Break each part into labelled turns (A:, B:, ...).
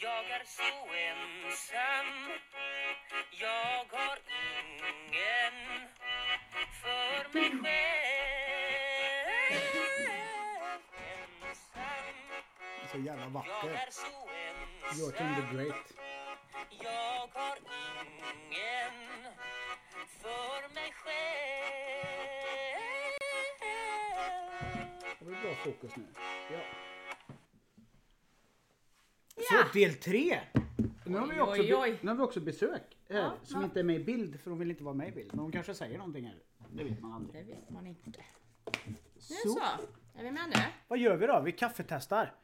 A: Jag är så ensam Jag har ingen för mig själv Ensam
B: Så jävla
A: Jag
B: vacker.
A: är så
B: Joakim the
A: ensam
B: Great.
A: Jag har ingen för mig själv
B: Har vi bra fokus nu? Ja.
C: Ja.
B: Så del tre! Nu har, vi
C: Oj,
B: också
C: oj, oj.
B: nu har vi också besök här,
C: Ja,
B: som
C: ja.
B: inte är med i bild för de vill inte vara med i bild. Men de kanske säger någonting här. Det vet man aldrig.
C: Det vet man inte. Nu
B: Så,
C: så. Är vi med nu?
B: vad gör vi då? Vi kaffetestar.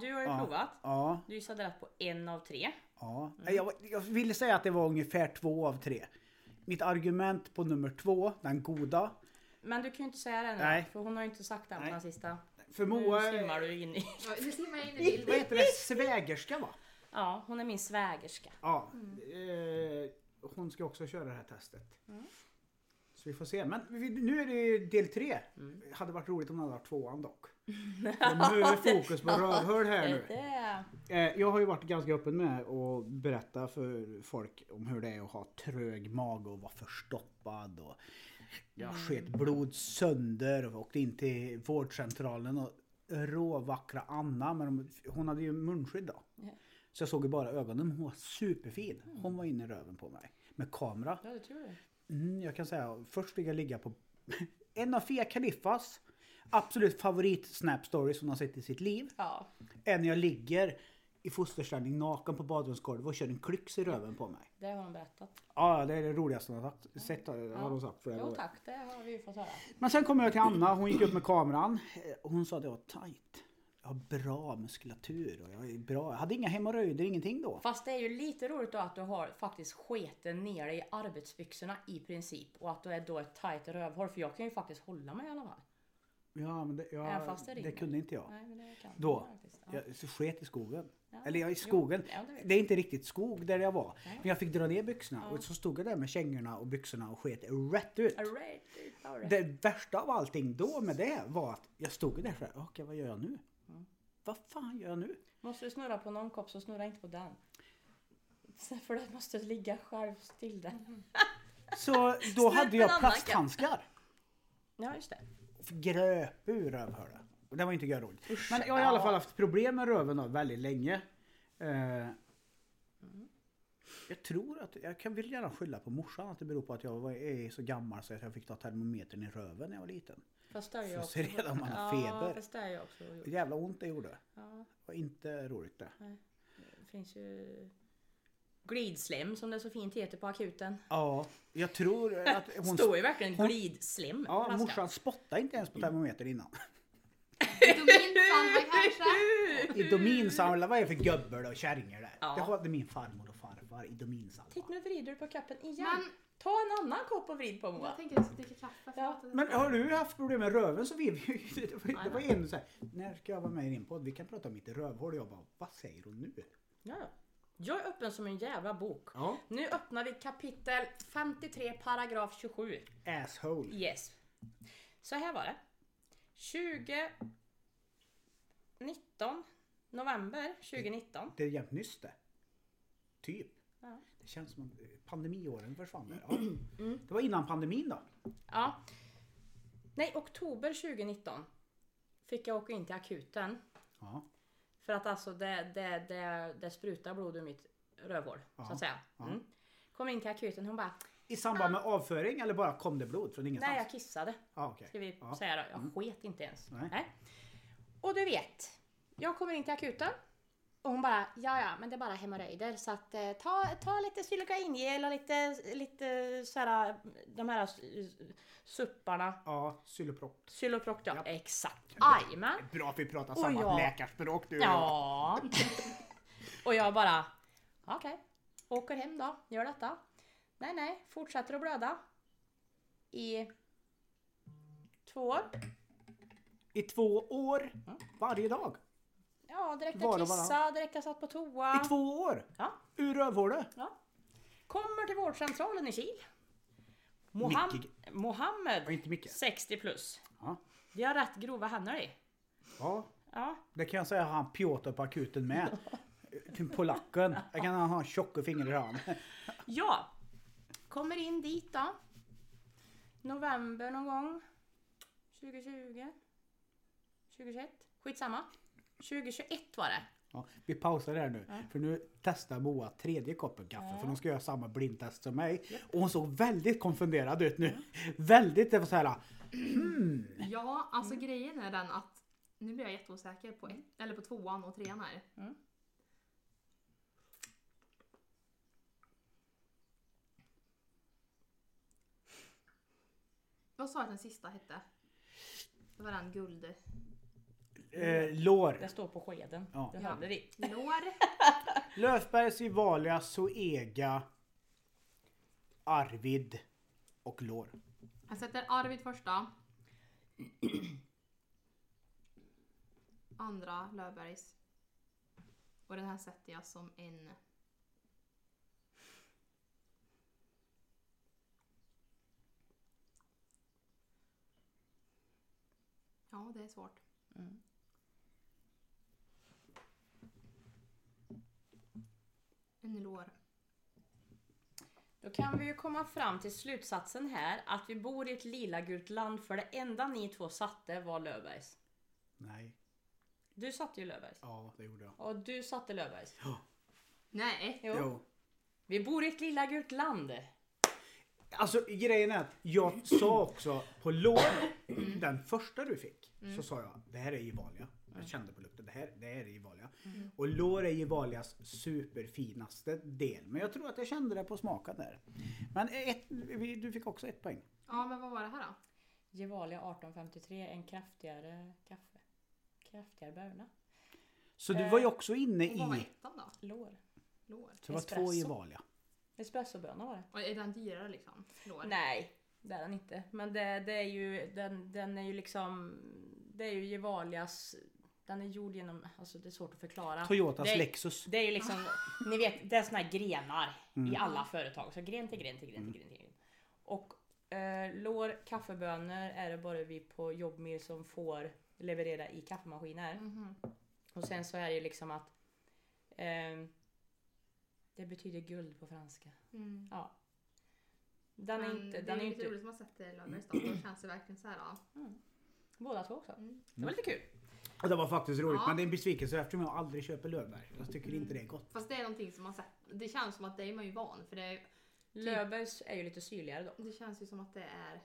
C: Du har ju
B: Ja.
C: provat.
B: Ja,
C: Du gissade rätt på en av tre.
B: ja. Nej, Jag, jag ville säga att det var ungefär två av tre. Mitt argument på nummer två, den goda.
C: Men du kan ju inte säga det nu.
B: Nej.
C: För hon har ju inte sagt den på
B: Nej.
C: den sista.
B: För
C: Nu
B: Moa
C: simmar
B: är,
C: du in i.
D: Ja, nu simmar jag in i
B: vad
D: bilden.
B: heter det, svägerska va?
C: Ja, hon är min svägerska.
B: Ja, eh, hon ska också köra det här testet. Så vi får se. Men vi, nu är det ju del tre. Hade varit roligt om det hade varit tvåan dock. Men nu är det fokus på rövhål här nu.
C: Det är...
B: Eh, Jag har ju varit ganska öppen med att berätta för folk om hur det är att ha trög mage och vara förstoppad. Och jag
C: Mm.
B: sket blod sönder och åkte in till vårdcentralen och råvackra Anna, men hon- hon hade ju munskydd då.
C: Ja. Mm.
B: Så jag såg ju bara ögonen, hon var superfin. Hon var inne i röven på mig. Med kamera.
C: Ja, det tror jag.
B: Mm, jag kan säga, först fick jag ligga på en av Fia Khalifas absolut favorit snap stories hon har sett i sitt liv
C: Ja.
B: än när jag ligger i fosterställning naken på badrumsgolvet och kör en klyx i röven på mig.
C: Det har hon berättat.
B: Ja, det är det roligaste hon har sagt, sett, har hon sagt flera
C: Jo
B: gånger.
C: tack, det har vi ju fått höra.
B: Men sen kom jag till Anna, hon gick upp med kameran eh, och hon sa att jag var tajt. Jag har bra muskulatur och jag är bra. Jag hade inga hemorrojder, ingenting då.
C: Fast det är ju lite roligt då att du har faktiskt sketen ner dig i arbetsbyxorna i princip. Och att du är då ett tajt rövhål. För jag kan ju faktiskt hålla mig i alla fall.
B: Ja, men det,
C: Även
B: jag,
C: fast det
B: det,
C: rinner.
B: kunde inte jag.
C: Nej, men det kan
B: Då.
C: jag faktiskt. Ja.
B: Jag sket i skogen.
C: Ja.
B: Eller jag i
C: Jo,
B: skogen.
C: ja, det vet
B: Det är inte riktigt skog där jag var.
C: Nej.
B: Men jag fick dra ner byxorna och så stod jag där med kängorna och byxorna och sket rätt ut.
C: Alright, it's alright.
B: Det värsta av allting då med det var att jag stod där såhär, okej vad gör jag nu? Vad fan gör jag nu?
C: Måste du snurra på någon kopp så snurra inte på den. Så För det måste ligga själv still där.
B: Så då hade jag
C: annan katt.
B: plasthandskar.
C: Ja just det.
B: Och gröp ur rövhålet. Och det var inte görroligt. Men jag har i alla fall haft problem med röven då, väldigt länge. Eh, jag tror att, jag kan vill gärna skylla på morsan att det beror på att jag var, är så gammal så att jag fick ta termometern i röven när jag var liten.
C: Fast det är ju
B: Får
C: också.
B: se redan om man har feber.
C: Ja fast det är ju också.
B: Det jävla ont det gjorde.
C: Ja,
B: Det var inte roligt det.
C: det finns ju glidslem som det så fint heter på akuten.
B: Ja, jag tror att hon...
C: Står ju verkligen
B: hon-
C: glidslem. på
B: Ja,
C: flaskan.
B: morsan spottade inte ens på termometern innan.
D: Dominsanna kanske.
B: Idominsamla, vad är det för gubbel och kärringar där?
C: Ja.
B: Det hade min farmor och farfar,
C: Titta
B: idominsamla.
C: nu vrider du på kappen igen.
D: Men-
C: Ta en annan kopp och vrid på Moa.
D: Jag tänker att jag ska dricka kaffe.
C: Ja.
D: förlåt.
B: Men har du haft problem med röven så vi det var, det var en så här, när ska jag vara med i din podd? Vi kan prata om mitt rövhål. Jag bara, vad säger hon nu?
C: Ja, ja. Jag är öppen som en jävla bok.
B: Ja.
C: Nu öppnar vi kapitel 53 paragraf 27.
B: Asshole.
C: Yes. Så här var det. 20... 19 november 2019.
B: Det är jämt nyss det. Typ.
C: Ja. Mm.
B: Det känns som att eh, pandemiåren försvann där. Ja. Det var innan pandemin då.
C: Ja. Nej, oktober 2019 fick jag åka in till akuten.
B: Ja.
C: För att alltså det, det, det, det sprutar blod ur mitt rövhål. Så
B: Ja,
C: att säga.
B: ja.
C: Mm. Kom in till akuten hon bara
B: I samband med avföring eller bara kom det blod från ingenstans?
C: Nej jag kissade.
B: Ja, okej.
C: Ska vi
B: ja. Mm.
C: säga då. Jag sket inte ens.
B: Nej.
C: Och du vet. Jag kommer in till akuten. Och hon bara, ja ja men det är bara hemorrojder så att eh, ta, ta lite xylokaingel och lite, lite såhär, de här s- supparna.
B: Ja, xyloprop.
C: Xyloproc ja,
B: Ja.
C: exakt. Jajamän.
B: Bra att vi pratar
C: Och
B: samma
C: jag-
B: läkarspråk du och jag.
C: Ja. Och jag bara, okej. Åker hem då, gör detta. Nej, nej, fortsätter att blöda. I två år.
B: I två år, varje dag.
C: Ja, direkt
B: Var
C: jag
B: och varann.
C: kissade, direkt jag satt på toa.
B: I två år!
C: Ja,
B: Ur rövhålet.
C: ja. Kommer till vårdcentralen i Kil. Moham-
B: Micke.
C: Mohammed,
B: Och inte Micke.
C: 60 plus.
B: Ja.
C: Vi har rätt grova händer i.
B: ja.
C: Ja.
B: Det kan jag säga han Piotr på akuten med. Polacken. Jag kan ha en tjocka fingrar i han.
C: ja. Kommer in dit då. November någon gång. 2020. 2021. Skitsamma. 2021 var det.
B: Ja, vi pausar det här nu. För nu testar Moa tredje koppen kaffe. För hon ska göra samma blindtest som mig. Och hon såg väldigt konfunderad ut nu. Väldigt, det var så här.
D: Ja, alltså grejen är den att nu blir jag jätteosäker på, ett, eller på tvåan och trean här.
C: Mm.
D: Vad sa jag att den sista hette? Det var den guld...
B: Eh, lår.
C: Den står på skeden.
B: Ja.
C: Den
D: Ja.
C: håller i.
D: Lår?
B: Löfbergs, Ivalia, Zoega, Arvid och lår.
D: Jag sätter Arvid första. Andra Löfbergs. Och den här sätter jag som en... Ja, det är svårt. En lår.
C: Då kan vi ju komma fram till slutsatsen här att vi bor i ett lila gult land för det enda ni två satte var Löfbergs.
B: Nej,
C: Du satte ju Löfbergs.
B: ja det gjorde jag.
C: Och du satte Löfbergs.
D: Nej!
C: Jo.
B: Jo.
C: Vi bor i ett lilla gult land.
B: Alltså grejen är att jag sa också på lår, den första du fick,
C: Mm.
B: så sa jag det här är Gevalia. Jag kände på lukten, det här, det här är Gevalia.
C: Mm.
B: Och lår är Gevalias superfinaste del. Men jag tror att jag kände det på smaken där. Men ett, vi- du fick också ett poäng.
D: Ja, men vad var det här då?
C: Gevalia 1853, en kraftigare kaffe. Kraftigare börna.
B: Så du
C: Eh,
B: var ju också inne
D: Och vad var
B: i...
D: ettan då?
C: Lår.
D: Lår.
B: Så det var två
C: Espresso.
B: Gevalia.
C: Espressoböna var det.
D: Och är den dyrare liksom? Lår?
C: Nej, det är den inte. Men det, det är ju, den, den är ju liksom, det är ju Gevalias, den är gjord genom, alltså det är svårt att förklara.
B: Toyotas
C: det,
B: Lexus.
C: Det är ju liksom, ni vet, det är såna här grenar i alla företag. Så gren till gren till gren till gren till gren. Och eh, lår, kaffebönor är det bara vi på Jobbmil som får leverera i kaffemaskiner.
D: Mhm.
C: Och sen så är det ju liksom att ehm, det betyder guld på franska.
D: Mm.
C: Ja. Den är
D: Men
C: inte,
D: Mm, det
C: den
D: är
C: är
D: lite
C: inte,
D: roligt som har sett det i Löfbergs då. Då känns det verkligen så här. Ja.
C: båda två också.
D: Mm.
C: Det var lite kul.
B: Och det var faktiskt roligt,
D: Ja.
B: men det är en besvikelse eftersom jag aldrig köper Löfberg. Jag tycker inte det är gott.
D: Fast det är någonting som man sett. Det känns som att det är man ju van för det, är-
C: Löfbergs är ju lite syrligare då. Typ.
D: det känns ju som att det är.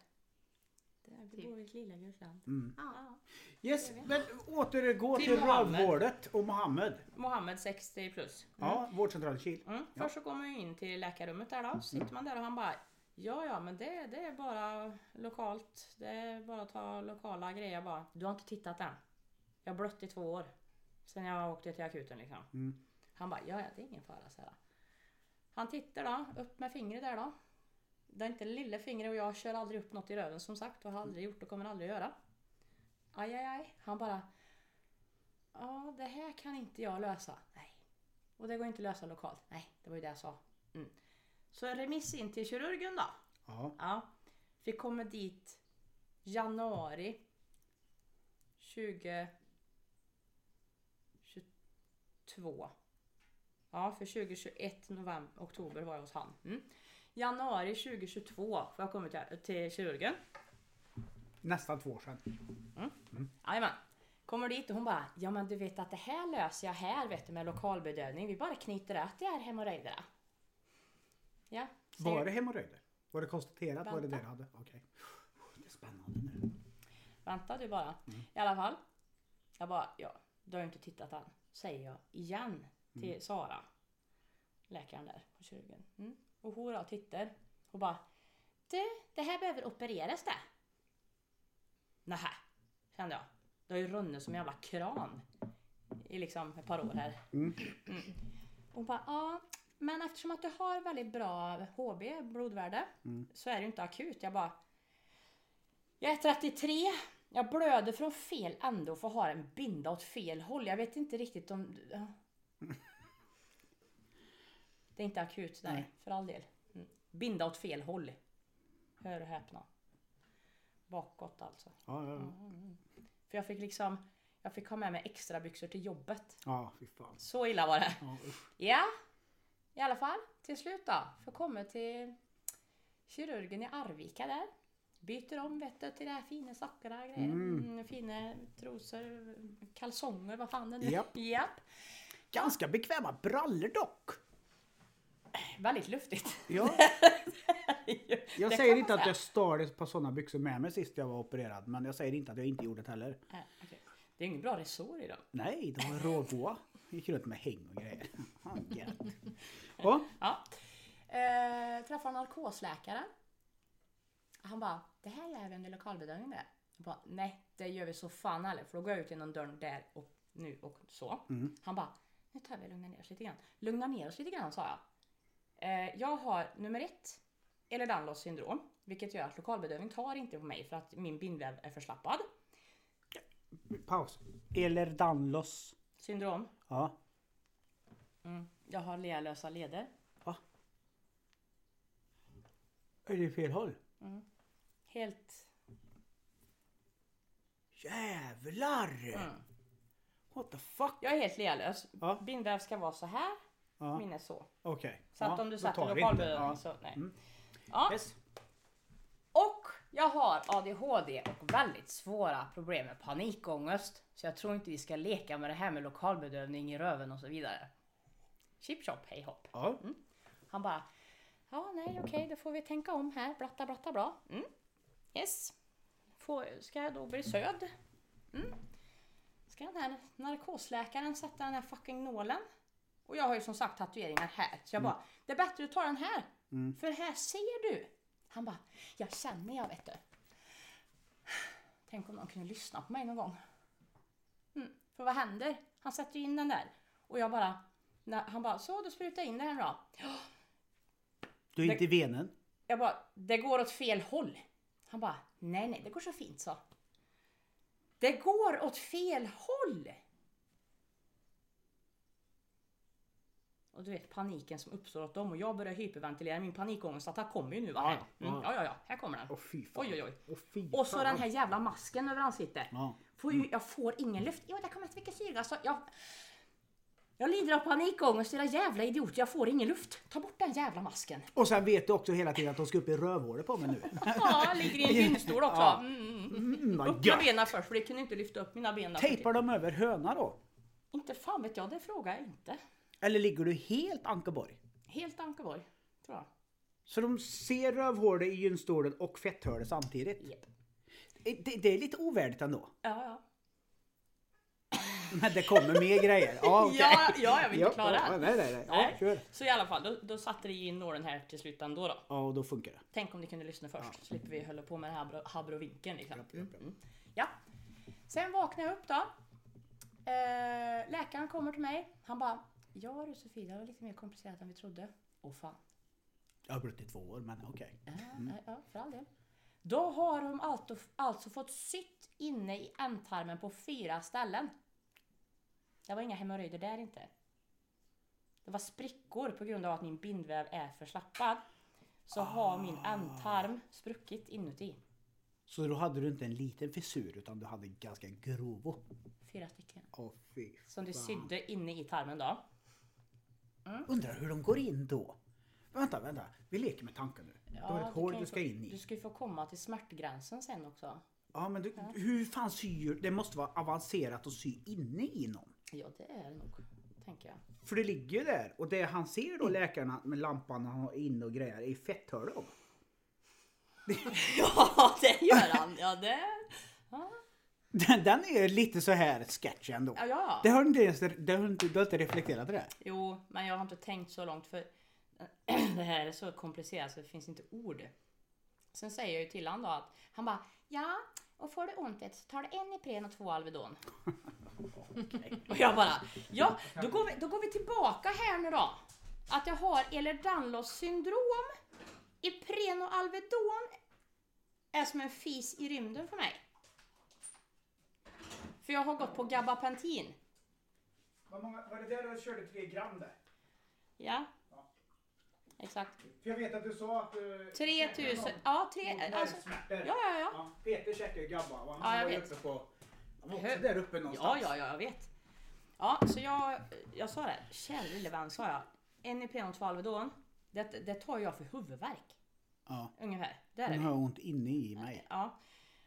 C: Det bor i ett lilla Grekland.
D: Ja.
B: Yes, men återgå
C: Till
B: till
C: Mohammed.
B: rövhålet och Mohammed.
C: Mohammed 60 plus.
B: Ja, vårdcentralen Kil.
C: Mm. Först så kommer vi in till läkarrummet där då. Sitter man där och han bara Ja ja men det, det är bara lokalt. Det är bara att ta lokala grejer Jag bara. Du har inte tittat än. Jag har blött i två år. Sen jag åkte till akuten liksom.
B: Mm.
C: Han bara ja ja det är ingen fara så här. Han tittar då upp med fingret där då. Det är inte lilla fingret och jag kör aldrig upp något i röven som sagt och har aldrig gjort och kommer aldrig göra. Aj aj aj. Han bara Ja det här kan inte jag lösa. Nej. Och det går inte att lösa lokalt. Nej, det var ju det jag sa. Mm. Så en remiss in till kirurgen då.
B: Ja,
C: Ja. Vi kommer dit januari 2022. Ja, för 2021 november, oktober var jag hos han. Mm. Januari 2022 får jag komma till, till kirurgen.
B: nästan två år sedan.
C: Jajamän. Kommer dit och hon bara, ja men du vet att det här löser jag här vet du med lokalbedövning. Vi bara knyter åt de här hemorrojderna. Ja. säger-
B: Var det hemorrojder? Var det konstaterat? Var det
C: Vänta.
B: det du hade? Okej. Det är spännande nu.
C: Vänta du bara. I alla fall. Jag bara, ja, du har ju inte tittat än. Säger jag igen till Sara. Läkaren där på kirurgen. Mm. Och hon då tittar och bara, du, det här behöver opereras det. Nähä, kände jag. Det har ju runnit som en jävla kran i liksom ett par år här. Mm. Och bara, ja, men eftersom att du har väldigt bra HB, blodvärde, så är det ju inte akut. Jag bara, jag är 33. Jag blöder från fel ände och får ha en binda åt fel håll. Jag vet inte riktigt om... ja. Det är inte akut, nej.
B: Nej.
C: För all del. Mm. Binda åt fel håll. Hör och häpna. Bakåt alltså.
B: Ja, ja, ja.
C: För jag fick liksom... Jag fick ha med mig extra byxor till jobbet.
B: Ja, fy fan.
C: Så illa var det.
B: Ja, usch.
C: Ja, i alla fall till slut då. Får komma till kirurgen i Arvika där. Byter om vet du, till det här fina sakerna grejer.
B: Mm.
C: Mm. Fina trosor, kalsonger, vad fan det nu
B: Japp.
C: Japp.
B: Ganska bekväma brallor dock.
C: Väldigt luftigt.
B: Ja, jag
C: Det
B: säger
C: kan
B: inte
C: man
B: att
C: säga.
B: jag stal ett par sådana byxor med mig sist jag var opererad. Men jag säger inte att jag inte gjorde det heller.
C: Nej, Äh, okej. Det är ingen bra resår i dem.
B: Nej, de var rågoa. Gick runt med häng och grejer. Fan, gött. Ja,
C: Ja. Eh, träffar narkosläkaren. Han bara, det här gör vi under lokalbedömning det. Jag bara, nej det gör vi så fan aldrig för då går jag ut genom dörren där och nu och så.
B: Mm.
C: Han bara, nu tar vi och lugnar ner oss lite grann. Lugna ner oss lite grann sa jag. Eh, jag har nummer ett, eller Danlos syndrom. Vilket gör att lokalbedövning tar inte på mig för att min bindväv är förslappad.
B: paus. Eller Danlos.
C: Syndrom.
B: Ja.
C: Mm. Jag har lealösa leder.
B: Är det fel håll?
C: Helt...
B: Jävlar!
C: Mm.
B: What the fuck?
C: Jag är helt lealös.
B: Ja.
C: Bindväv ska vara så här,
B: Ja.
C: min är så.
B: Okej.
C: Så att
B: Ja,
C: om du
B: då
C: satt i
B: tar vi
C: lokalbedövning
B: inte.
C: så nej.
B: Mm.
C: Ja.
B: Ja. Yes.
C: Och jag har ADHD och väldigt svåra problem med panikångest. Så jag tror inte vi ska leka med det här med lokalbedövning i röven och så vidare. Chip chop hej hopp.
B: Ja.
C: Han bara, ja nej okej då får vi tänka om här, blatta blatta bra. Mm. Yes. Får, ska jag då bli sövd? Mm. Ska den här narkosläkaren sätta den här fucking nålen? Och jag har ju som sagt tatueringar här. Så jag bara, det är bättre du tar den här.
B: Mm.
C: För här ser du. Han bara, jag känner jag vet du. Tänk om någon kunde lyssna på mig någon gång. Mm. För vad händer? Han sätter ju in den där. Och jag bara, när, han bara, så du sprutar in den då.
B: Du är inte i venen?
C: Jag bara, det går åt fel håll. Han bara, nej nej, det går så fint så. Det går åt fel håll! Och du vet paniken som uppstår åt dem och jag börjar hyperventilera. Min panikångestattack kommer ju nu va?
B: Ja,
C: Här. Mm,
B: ja.
C: ja, ja, ja, här kommer den.
B: Åh fy fan.
C: Oj, oj, oj.
B: Åh, fy
C: Och så
B: fan.
C: den här jävla masken över ansiktet.
B: Ja.
C: Får ju, jag får ingen luft. Jo, där kommer ett mycket syrgas. så Jag, jag lider av panikångest, era jävla idiot. Jag får ingen luft. Ta bort den jävla masken.
B: Och sen vet du också hela tiden att de ska upp i rövhålet på mig nu.
C: Ja, ligger i en gynstol också.
B: Ja.
C: Mm, Mm. mm.
B: Mm, vad
C: Upp med
B: gött!
C: benen först, för det kunde inte lyfta upp mina ben. där.
B: Tejpar de över höna då?
C: Inte fan vet jag, det frågar jag inte.
B: Eller ligger du helt Ankeborg?
C: Helt Ankeborg, tror jag.
B: Så de ser rövhålet i gynstolen och fetthålet samtidigt?
C: Japp.
B: Det, det är lite ovärdigt ändå.
C: Ja, ja.
B: Men det kommer mer grejer. Ja, okej.
C: ja, ja, jag vill
B: Ja,
C: inte klara
B: ja,
C: allt.
B: Nej, nej, nej. Ja,
C: Nej.
B: kör.
C: Så i alla fall, då, då satte det ju in nålen här till slut ändå då.
B: Ja, och då funkar det.
C: Tänk om ni kunde lyssna först, slipper vi hålla på med den här habro- habrovinkeln liksom.
B: Japp, japp, japp.
C: Mm. Ja. Sen vaknade jag upp då. Eh, läkaren kommer till mig. Han bara, ja du Sofie, det här var lite mer komplicerat än vi trodde. Åh fan.
B: Jag har brutit två år, men okej.
C: Ja, Mm. ja, ja, för all del. Då har de alltså, alltså fått sytt inne i ändtarmen på fyra ställen. Det var inga hemorrojder där inte. Det var sprickor på grund av att min bindväv är förslappad. Så har min
B: Ah.
C: ändtarm spruckit inuti.
B: Så då hade du inte en liten fissur, utan du hade ganska grov.
C: Fyra stycken.
B: Åh fy.
C: Som det
B: Fan.
C: sydde inne i tarmen då. Mm.
B: Undrar hur de går in då? Vänta, vänta. Vi leker med tanken nu. du har
C: Ja,
B: ett hål
C: kan ju
B: du
C: få-
B: ska in
C: Du
B: i.
C: ska ju få komma till smärtgränsen sen också.
B: Ja, men du, hur fan syr... Det måste vara avancerat att sy inne i någon.
C: Ja, det är det nog. Tänker jag.
B: För det ligger ju där. Och det han ser
C: Mm.
B: då, läkarna med lampan han har inne och grejer, är fetthålet.
C: Ja, det gör han. Ja, det... Ja,
B: Den, den är lite så här sketchy ändå.
C: ja. ja.
B: Det har du inte ens... Det har du, inte, du har inte reflekterat över det?
C: Jo, men jag har inte tänkt så långt för det här är så komplicerat så det finns inte ord. Sen säger jag ju till honom då att han bara ja, och får du ont vet, du, så tar du en Ipren och två Alvedon. och jag bara ja, då går, vi, då går vi tillbaka här nu då. Att jag har Ehlers-Danlos syndrom. Ipren och Alvedon är som en fis i rymden för mig. För jag har gått på gabapentin.
B: Var det där du körde tre gram där?
C: Ja. Exakt.
B: För jag vet att du sa att... Uh, Mm,
C: 3000, ja, tre, alltså, ja, ja, ja.
B: Peter käkar ju gabba och
C: Ja, jag var ju vet.
B: uppe på... De var också där uppe
C: Ja,
B: någonstans.
C: ja, ja, jag vet. Ja, så jag, jag sa det. Kära lille vän, sa jag. En Ipren åt Valvedon. Det, det tar jag för huvudvärk.
B: ja.
C: Ungefär. Där är
B: Den
C: vi.
B: har ont inne i mig.
C: Ja.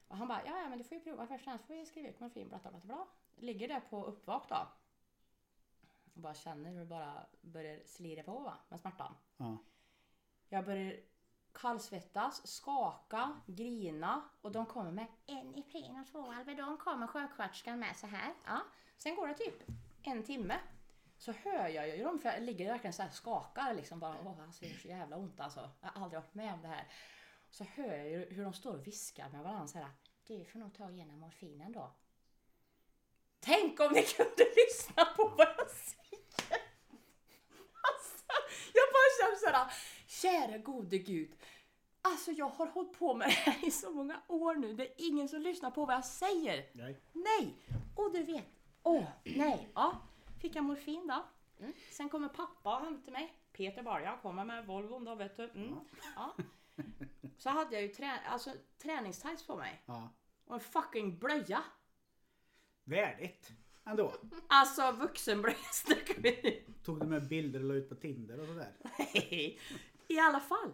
C: Och han bara, ja, ja, men du får ju prova först. Annars får vi skriva ut morfin, bla, bla, bla, bla. Ligger där på uppvak då. Och bara känner hur det bara börjar slira på va, med smärtan.
B: Ja.
C: Jag börjar kallsvettas, skaka, grina och de kommer med en Ipren och två Alvedon kommer sjuksköterskan med så här. Ja. Sen går det typ en timme. Så hör jag ju dem för jag ligger verkligen så här och skakar liksom bara åh alltså det gör så jävla ont alltså. Jag har aldrig varit med om det här. Så hör jag ju hur de står och viskar med varandra så här. Du får nog ta igenom morfinen då. Tänk om ni kunde lyssna på vad jag säger! Alltså, jag bara känner såhär, kära gode gud. Alltså jag har hållit på med det här i så många år nu. Det är ingen som lyssnar på vad jag säger.
B: Nej.
C: Nej! Och du vet, åh nej. Ja, fick jag morfin då. Mm. Sen kommer pappa och hämtar mig. Peter bara, jag kommer med Volvon då vet du. Mm. Ja. Så hade jag ju trä- alltså, träningstights på mig.
B: Ja.
C: Och en fucking blöja.
B: Värdigt ändå.
C: Alltså vuxenblöja snackar vi nu.
B: Tog du med bilder och la ut på Tinder och sådär?
C: Nej, I alla fall.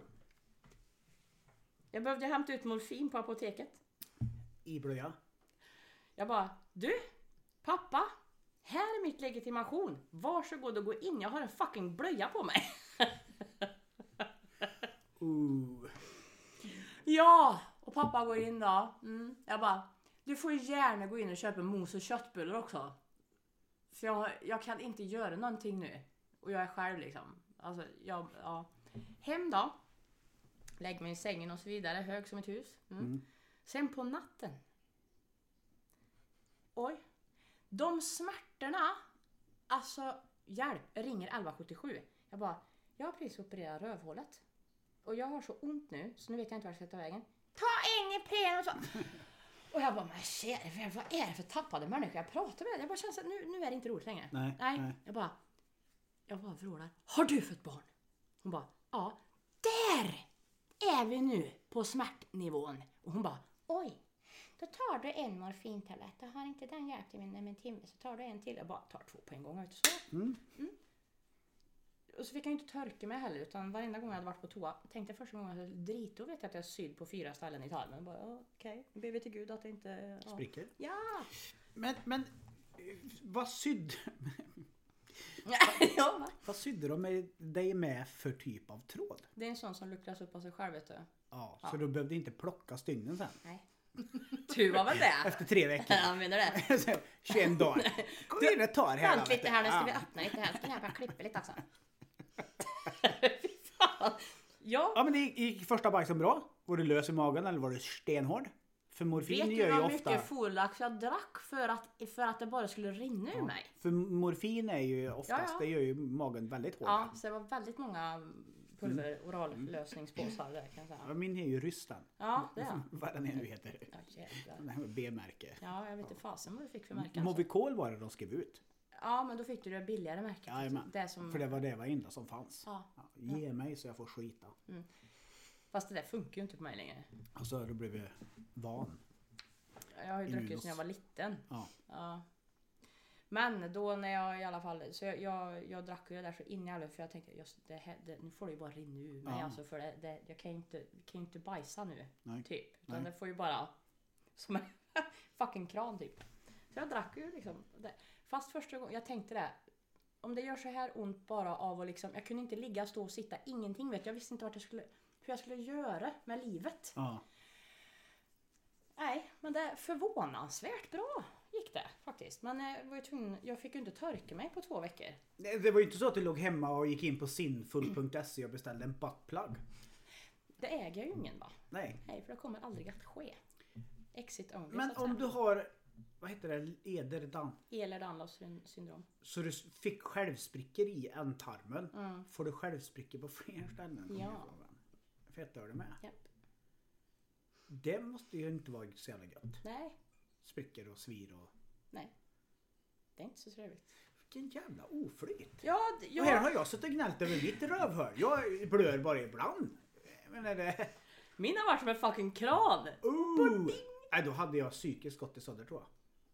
C: Jag behövde hämta ut morfin på apoteket.
B: I blöja?
C: Jag bara, du pappa, här är mitt legitimation. Varsågod och gå in, jag har en fucking blöja på mig.
B: Ooh.
C: Ja! Och pappa går in då. Mm. Jag bara, du får gärna gå in och köpa mos och köttbullar också. För jag, jag kan inte göra någonting nu. Och jag är själv liksom. Alltså, jag, ja. Hem då. Lägg mig i sängen och så vidare, hög som ett hus. Mm.
B: Mm.
C: Sen på natten. Oj. De smärtorna. Alltså, hjälp. Ringer 1177. Jag bara, jag har precis opererat rövhålet. Och jag har så ont nu, så nu vet jag inte vart jag ska ta vägen. Ta en Ipren och så... Och jag bara, men kära vän, vad är det för tappade människor jag pratar med? Jag bara känner så här, nu, nu är det inte roligt längre.
B: Nej,
C: nej.
B: nej.
C: Jag bara, jag bara vrålar. Har du fått barn? Hon bara, ja. Där är vi nu på smärtnivån. Och hon bara, oj. Då tar du en morfintablett. Då har inte den hjälpt i mindre än en timme så tar du en till. Jag bara tar två på en gång. Vet du, så.
B: Mm.
C: Och så fick jag ju inte törka mig heller utan varenda gång jag hade varit på toa tänkte jag första gången jag skulle drita och vet jag att jag sydd på fyra ställen i tarmen. Bara, ja, Okej, ber vi till gud att det inte... Ja.
B: Spricker.
C: Ja!
B: Men, men eh, vad sydde,
C: ja va?
B: vad sydde de med dig med för typ av tråd?
C: Det är en sån som luckras upp av sig själv vet du.
B: Ja, så du behövde inte plocka stygnen sen?
C: Nej. Tur var väl det.
B: Efter tre veckor?
C: Jag menar det.
B: Så, 21 dagar. Kom in och ta det här.
C: Vänt
B: vet
C: lite
B: du.
C: här nu ska
B: Ja.
C: vi öppna lite här. Ska jag bara klippa lite alltså. Fy fan. Ja.
B: Ja men det gick- gick första bajsen bra? Var du lös i magen eller var du stenhård? För morfin
C: Vet
B: gör
C: du
B: ju
C: hur
B: ofta...
C: mycket forlax jag drack för att, för att det bara skulle rinna ur mig?
B: För morfin är ju oftast,
C: Ja, ja.
B: det gör ju magen väldigt hård.
C: Ja, så det var väldigt många pulver
B: Mm.
C: orallösningspåsar där kan jag säga.
B: Ja, Min är ju rysten.
C: Ja, det är han.
B: Vad den är nu heter.
C: Ja, jävlar.
B: Den här med B-märke.
C: Ja, jag vet inte fasen vad du fick för märke. Alltså.
B: Movicol var det de skrev ut.
C: Ja, men då fick du det billigare märket.
B: Jajamän.
C: Det som...
B: För det var det enda som fanns.
C: Ja.
B: Ja, ge mig så jag får skita.
C: Fast det där funkar ju inte på mig längre.
B: Och så har du blivit van.
C: Jag har ju druckit sedan jag var liten.
B: Ja.
C: Ja. Men då när jag i alla fall, så jag, jag, jag drack ju det där så in i helvete för jag tänkte just det här, det, nu får det ju bara rinna ur mig
B: Ja.
C: alltså för det, det, jag kan ju inte, kan ju inte bajsa nu.
B: Nej.
C: Typ. Utan
B: Nej.
C: det får ju bara som en fucking kran typ. Så jag drack ju liksom. Det. Fast första gången, jag tänkte det. Om det gör så här ont bara av att liksom, jag kunde inte ligga, stå och sitta, ingenting vet jag. Jag visste inte vart jag skulle, hur jag skulle göra med livet.
B: Ja.
C: Nej, men det är förvånansvärt bra gick det faktiskt. Men jag, var ju tvungen, jag fick ju inte törka mig på två veckor.
B: Det det var ju inte så att du låg hemma och gick in på sinful.se E och beställde en buttplug.
C: Det äger jag ju ingen va?
B: Nej.
C: Nej, för det kommer aldrig att ske. Exit only
B: Men
C: så att
B: om
C: säga.
B: du har, vad heter det, ederdan.
C: El eller Danlos syn- syndrom.
B: Så du fick självsprickor i ändtarmen.
C: Mm.
B: Får du självsprickor på fler ställen? kommer
C: Ja.
B: jag frågan. Fett hör du med.
C: Japp.
B: Det måste ju inte vara så jävla gött.
C: Nej,
B: Sprickor och svir och...
C: nej. Det är inte så trevligt.
B: Vilken jävla oflyt.
C: Ja, d-
B: Och här
C: jag,
B: har jag suttit och gnällt över mitt rövhål. Jag blöder bara ibland. Men är det...
C: min har varit som en fucking kran.
B: Oh! Nej, då hade jag psykiskt gått i sönder tror jag.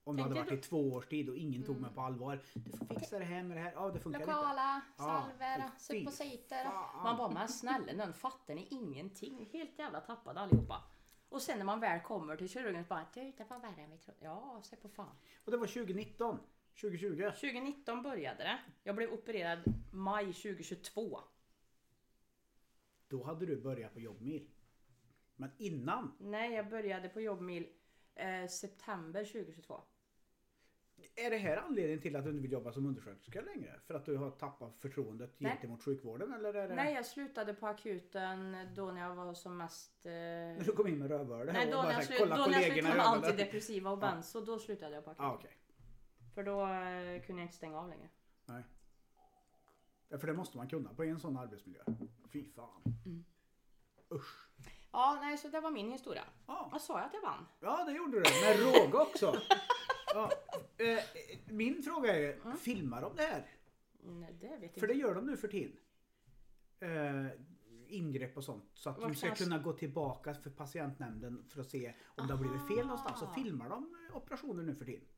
B: Om det hade
C: Tänkte Mm.
B: varit i två års tid och ingen tog mig på allvar. Du får fixa det här med det här. Ja, det funkar inte.
C: Lokala,
B: Ja,
C: salver,
B: fy
C: suppositer.
B: fan.
C: Man bara, men snälla nån fattar ni ingenting? Helt jävla tappade allihopa. Och sen när man väl kommer till kirurgen så bara, du det var värre än vi trodde. Ja, se på fan.
B: Och det var 2019. 2020.
C: 2019 började det. Jag blev opererad maj 2022.
B: Då hade du börjat på jobbmil. Men innan.
C: Nej, jag började på jobbmil eh, september 2022.
B: Är det här anledningen till att du inte vill jobba som undersköterska längre? För att du har tappat förtroendet
C: Nej.
B: gentemot sjukvården eller är det...
C: Nej, jag slutade på akuten då när jag var som mest... Eh,
B: När du kom in med rövhålet
C: nej,
B: och
C: då när,
B: bara
C: jag
B: så här,
C: slut,
B: kolla
C: då när jag
B: kollegorna
C: slutade
B: i
C: med
B: ögonen.
C: antidepressiva och
B: Ja.
C: benzo, då slutade jag på akuten.
B: Ah, okej.
C: För då eh, kunde jag inte stänga av längre.
B: Nej. Ja, för det måste man kunna på en sån arbetsmiljö. Fy fan. Usch.
C: Ja, nej, så det var min historia.
B: Ja.
C: Jag sa ju att jag vann.
B: ja, det gjorde du. Med råge också. Ja. Eh, Min fråga är, filmar de det här?
C: Nej, det vet
B: För
C: jag
B: det
C: inte.
B: gör de nu för tiden. Eh, ingrepp och sånt. Så att
C: Vart
B: de ska
C: fanns-
B: kunna gå tillbaka för patientnämnden för att se om det har blivit fel någonstans. Så
C: Aha.
B: filmar de eh, operationer nu för tiden.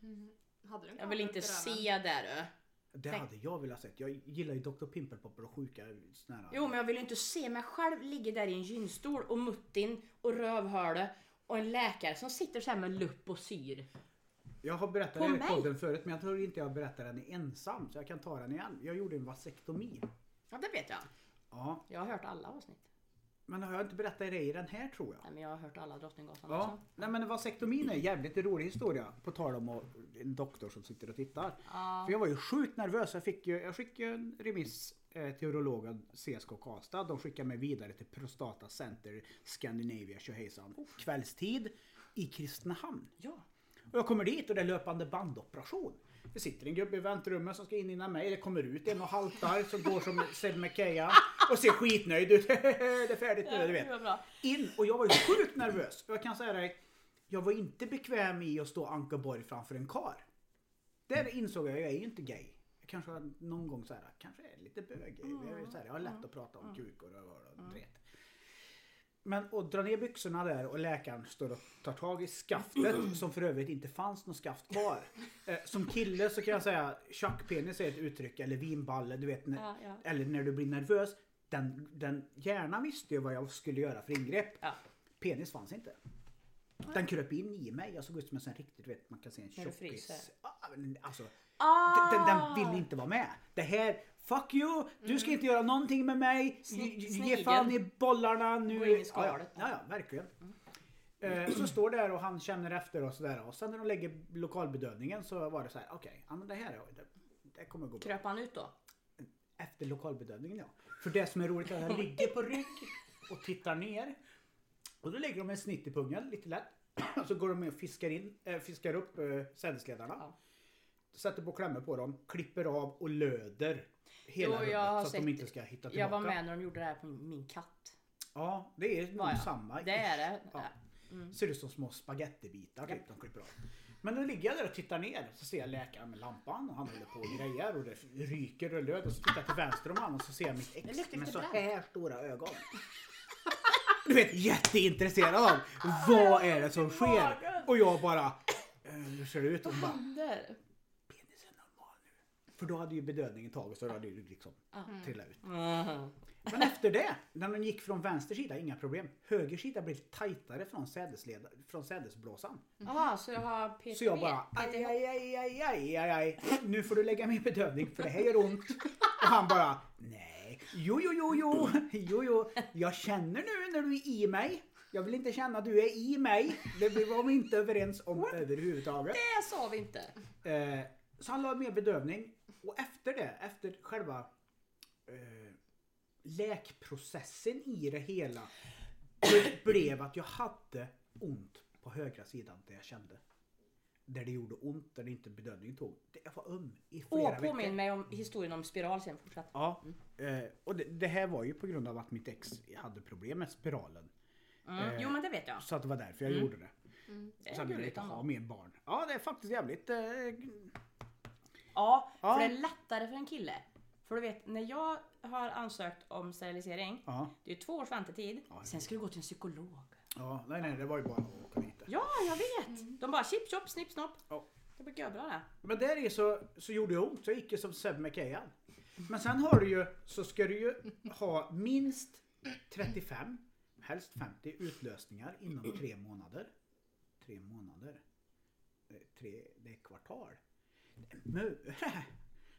D: Mhm. Hade du en
C: Jag vill inte
D: kamera upp i röven?
C: se där du.
B: Det
C: Tänk-
B: hade jag velat sett. Jag gillar ju Dr. Pimpelpopper och sjuka såna här.
C: Jo, men jag vill ju inte se mig själv ligga där i en gynstol och muttin och rövhålet och en läkare som sitter så här med lupp och syr.
B: Jag har berättat
C: På
B: den
C: mig?
B: här podden förut men jag tror inte jag berättar den ensam så jag kan ta den igen. Jag gjorde en vasektomi.
C: Ja, det vet jag.
B: Ja,
C: Jag har hört alla avsnitt.
B: men har jag inte berättat det i den här tror jag?
C: Nej, men jag har hört alla Drottninggatan
B: Ja,
C: också.
B: nej men vasektomin är en jävligt rolig historia. På tal om att- en doktor som sitter och tittar. För jag var ju sjukt nervös. Jag fick ju, jag fick ju en remiss eh, till urologen CSK Karlstad. De skickade mig vidare till Prostata Center Scandinavia tjohejsan. Kvällstid i Kristinehamn.
C: Ja.
B: Och jag kommer dit och det är löpande bandoperation. Det sitter en gubbe i väntrummet som ska in innan mig. Det kommer ut en och haltar som går som Sed Mekeia och ser skitnöjd ut. det är färdigt nu, du vet. In och jag var ju sjukt nervös. Och jag kan säga dig, jag var inte bekväm i att stå Ankeborg framför en kar. Där insåg jag, jag är ju inte gay. Jag kanske har någon gång så här, kanske är lite bög. Jag, är så här, jag har lätt att prata om kuk och röv och dret. Men att dra ner byxorna där och läkaren står och tar tag i skaftet som för övrigt inte fanns något skaft kvar. Eh, som kille så kan jag säga tjockpenis är ett uttryck eller vinballe du vet. När,
C: Ja, ja.
B: Eller när du blir nervös. Den, den hjärnan visste ju vad jag skulle göra för ingrepp.
C: Ja.
B: Penis fanns inte. Den kröp in i mig. Jag såg ut som en sån riktigt, du vet man kan se en
C: När du fryser.
B: tjockis. Ah, men Alltså,
C: Ah!
B: den, den vill inte vara med. Det här, fuck you! Du ska inte göra någonting med mig.
C: Sni-
B: Ge- Ge
C: snigeln.
B: fan i bollarna nu.
C: Gå in i
B: ja, ja,
C: skalet.
B: ja,
C: Mm.
B: ja, verkligen. Eh, Så står där och han känner efter och sådär. Och sen när de lägger lokalbedövningen så var det så här, okej, ja, men det här är, det, det kommer gå bra.
C: Kröp han ut då?
B: Efter lokalbedövningen ja. För det som är roligt är att han ligger på rygg och tittar ner. Och då lägger de en snitt i pungen lite lätt. Så går de med och fiskar, in, eh, fiskar upp eh, sädesledarna.
C: Ja.
B: Sätter på klämmor på dem, klipper av och löder hela
C: Jo, jag har
B: rummet så att
C: sett-
B: de inte ska hitta tillbaka.
C: Jag var med när de gjorde det här på min katt.
B: Ja, det är
C: Var
B: nog
C: jag.
B: samma.
C: Det är det. Mm.
B: Ja. Ser ut som små spagettibitar typ, de klipper av. Men då ligger jag där och tittar ner så ser jag läkaren med lampan och han håller på och grejer och det ryker och löd och så tittar jag till vänster om honom och så ser jag mitt
C: Det
B: ex
C: luktar
B: med
C: lite
B: så
C: bränt.
B: här stora ögon. Du vet jätteintresserad av vad är det som sker? Och jag bara, eh, hur ser det ut? Och hon bara,
C: Där.
B: penis är normal nu. För då hade ju bedövningen tagits och då hade ju liksom trillat ut.
C: Mhm.
B: Men efter det, när de gick från vänster sida, inga problem. Höger sida blev tajtare från, sädesleda, från sädesblåsan.
C: Jaha, Ah, så jag har PT?
B: Så jag bara, aj, aj, aj, aj, aj, aj, aj. Nu får du lägga min bedövning för det här gör ont. Och han bara, nej, jo, jo, jo, jo, jo, jo. Jag känner nu när du är i mig. Jag vill inte känna att du är i mig. Det var vi inte överens om överhuvudtaget.
C: Det sa vi inte.
B: Eh, så han la med bedövning och efter det, efter själva eh, läkprocessen i det hela ble- blev att jag hade ont på högra sidan där jag kände. Där det gjorde ont, där det inte bedövningen tog. Det- Jag var öm i flera
C: Åh,
B: veckor.
C: påminn mig om historien om spiral sen fortsatt.
B: Ja, eh, och det, det här var ju på grund av att mitt ex hade problem med spiralen.
C: Mm. Jo men det vet jag.
B: Eh. Så att det var därför jag gjorde det.
C: Mm. Det
B: Så
C: är
B: att jag ville
C: gulligt
B: inte ha
C: ändå.
B: mer barn. Ja, det är faktiskt jävligt eh,
C: Ja,
B: Ja.
C: för det är lättare för en kille. För du vet, när jag har ansökt om sterilisering,
B: ja.
C: det är ju två års väntetid, sen ska du gå till en psykolog.
B: Ja, nej nej, det var ju bara att åka dit. inte.
C: Ja, jag vet. Mm. De bara chip, chop, snipp, snopp.
B: Ja.
C: Det blir görbra det.
B: Men där i så, så gjorde det ont, så jag gick ju som Seb McKayan. Men sen har du ju, så ska du ju ha minst 35, helst 50 utlösningar inom tre månader. Tre månader? Eh, Tre, det är kvartal. Det är en mure.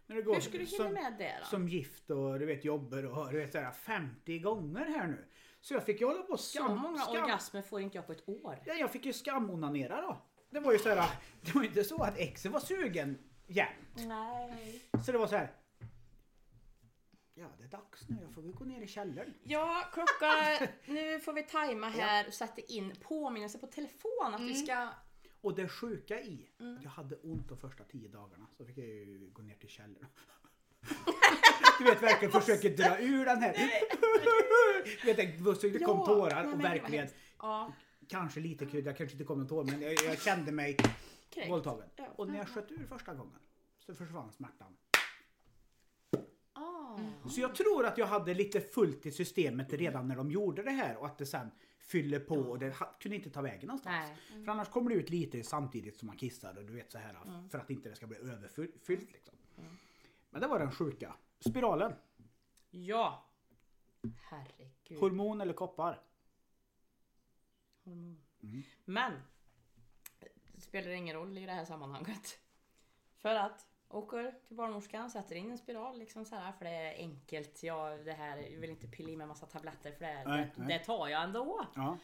B: När det går
C: Hur ska du hinna
B: som-
C: med det då?
B: som gift och du vet jobbar och du vet såhär 50 gånger här nu. Så jag fick ju hålla på och
C: Så
B: skam,
C: många
B: skam,
C: orgasmer får inte jag på ett år.
B: Ja, jag fick ju skamonanera då. Det var ju såhär, det var ju inte så att exen var sugen jämt.
C: Nej.
B: Så det var så här. Ja, det är dags nu. Jag får väl gå ner i källaren.
C: Ja, klocka... Nu får vi tajma här och sätta in påminnelse på telefon att vi ska...
B: Och det sjuka i,
C: Mm.
B: att jag hade ont de första tio dagarna. Så fick jag ju gå ner till källaren. Du vet verkligen försöker dra ur den här. Du vet, det- det kom
C: Ja, nej,
B: tårar
C: men
B: och
C: det var
B: verkligen
C: hemskt. Ja,
B: kanske lite krydda, kanske inte kom en tår men jag, jag kände mig
C: kränkt.
B: våldtagen.
C: Ja.
B: Och när jag sköt ur första gången så försvann smärtan.
C: Ah.
B: Så jag tror att jag hade lite fullt i systemet
C: Mm.
B: redan när de gjorde det här och att det sen fyller på och det ha- kunde inte ta vägen någonstans.
C: Nej. Mm.
B: För annars kommer det ut lite samtidigt som man kissar och du vet så här
C: Mm.
B: för att inte det ska bli överfyllt liksom. Men det var den sjuka. Spiralen.
C: Mm. Ja. Herregud.
B: Hormon eller koppar?
C: Men det spelar ingen roll i det här sammanhanget. För att åker till barnmorskan, sätter in en spiral liksom så här för det är enkelt. Jag, det här, jag vill inte pilla i mig massa tabletter för det,
B: Nej,
C: det,
B: nej.
C: det tar jag ändå.
B: Ja.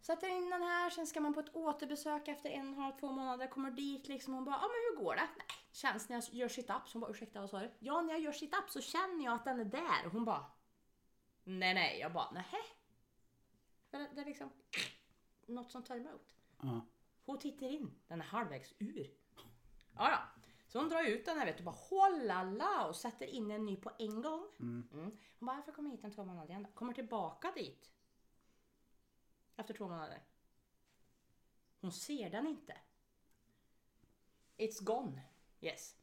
C: Sätter in den här, sen ska man på ett återbesök efter en, halv, två månader. Kommer dit liksom hon bara, ja ah, men hur går det? Nej, känns när jag gör sit-ups. Hon bara, ursäkta vad sa du? Ja, när jag gör sit-ups så känner jag att den är där. Och hon bara, nej nej. Jag bara, nähä? För Det, det är liksom något som tar emot.
B: ja.
C: Hon tittar in, den är halvvägs ur. Ja, ja. Så hon drar ut den här vet du, bara hållala och sätter in en ny på en gång. Mm. Hon bara, varför kommer hit om två månader igen då? Kommer tillbaka dit. Efter två månader. Hon ser den inte. It's gone. Yes.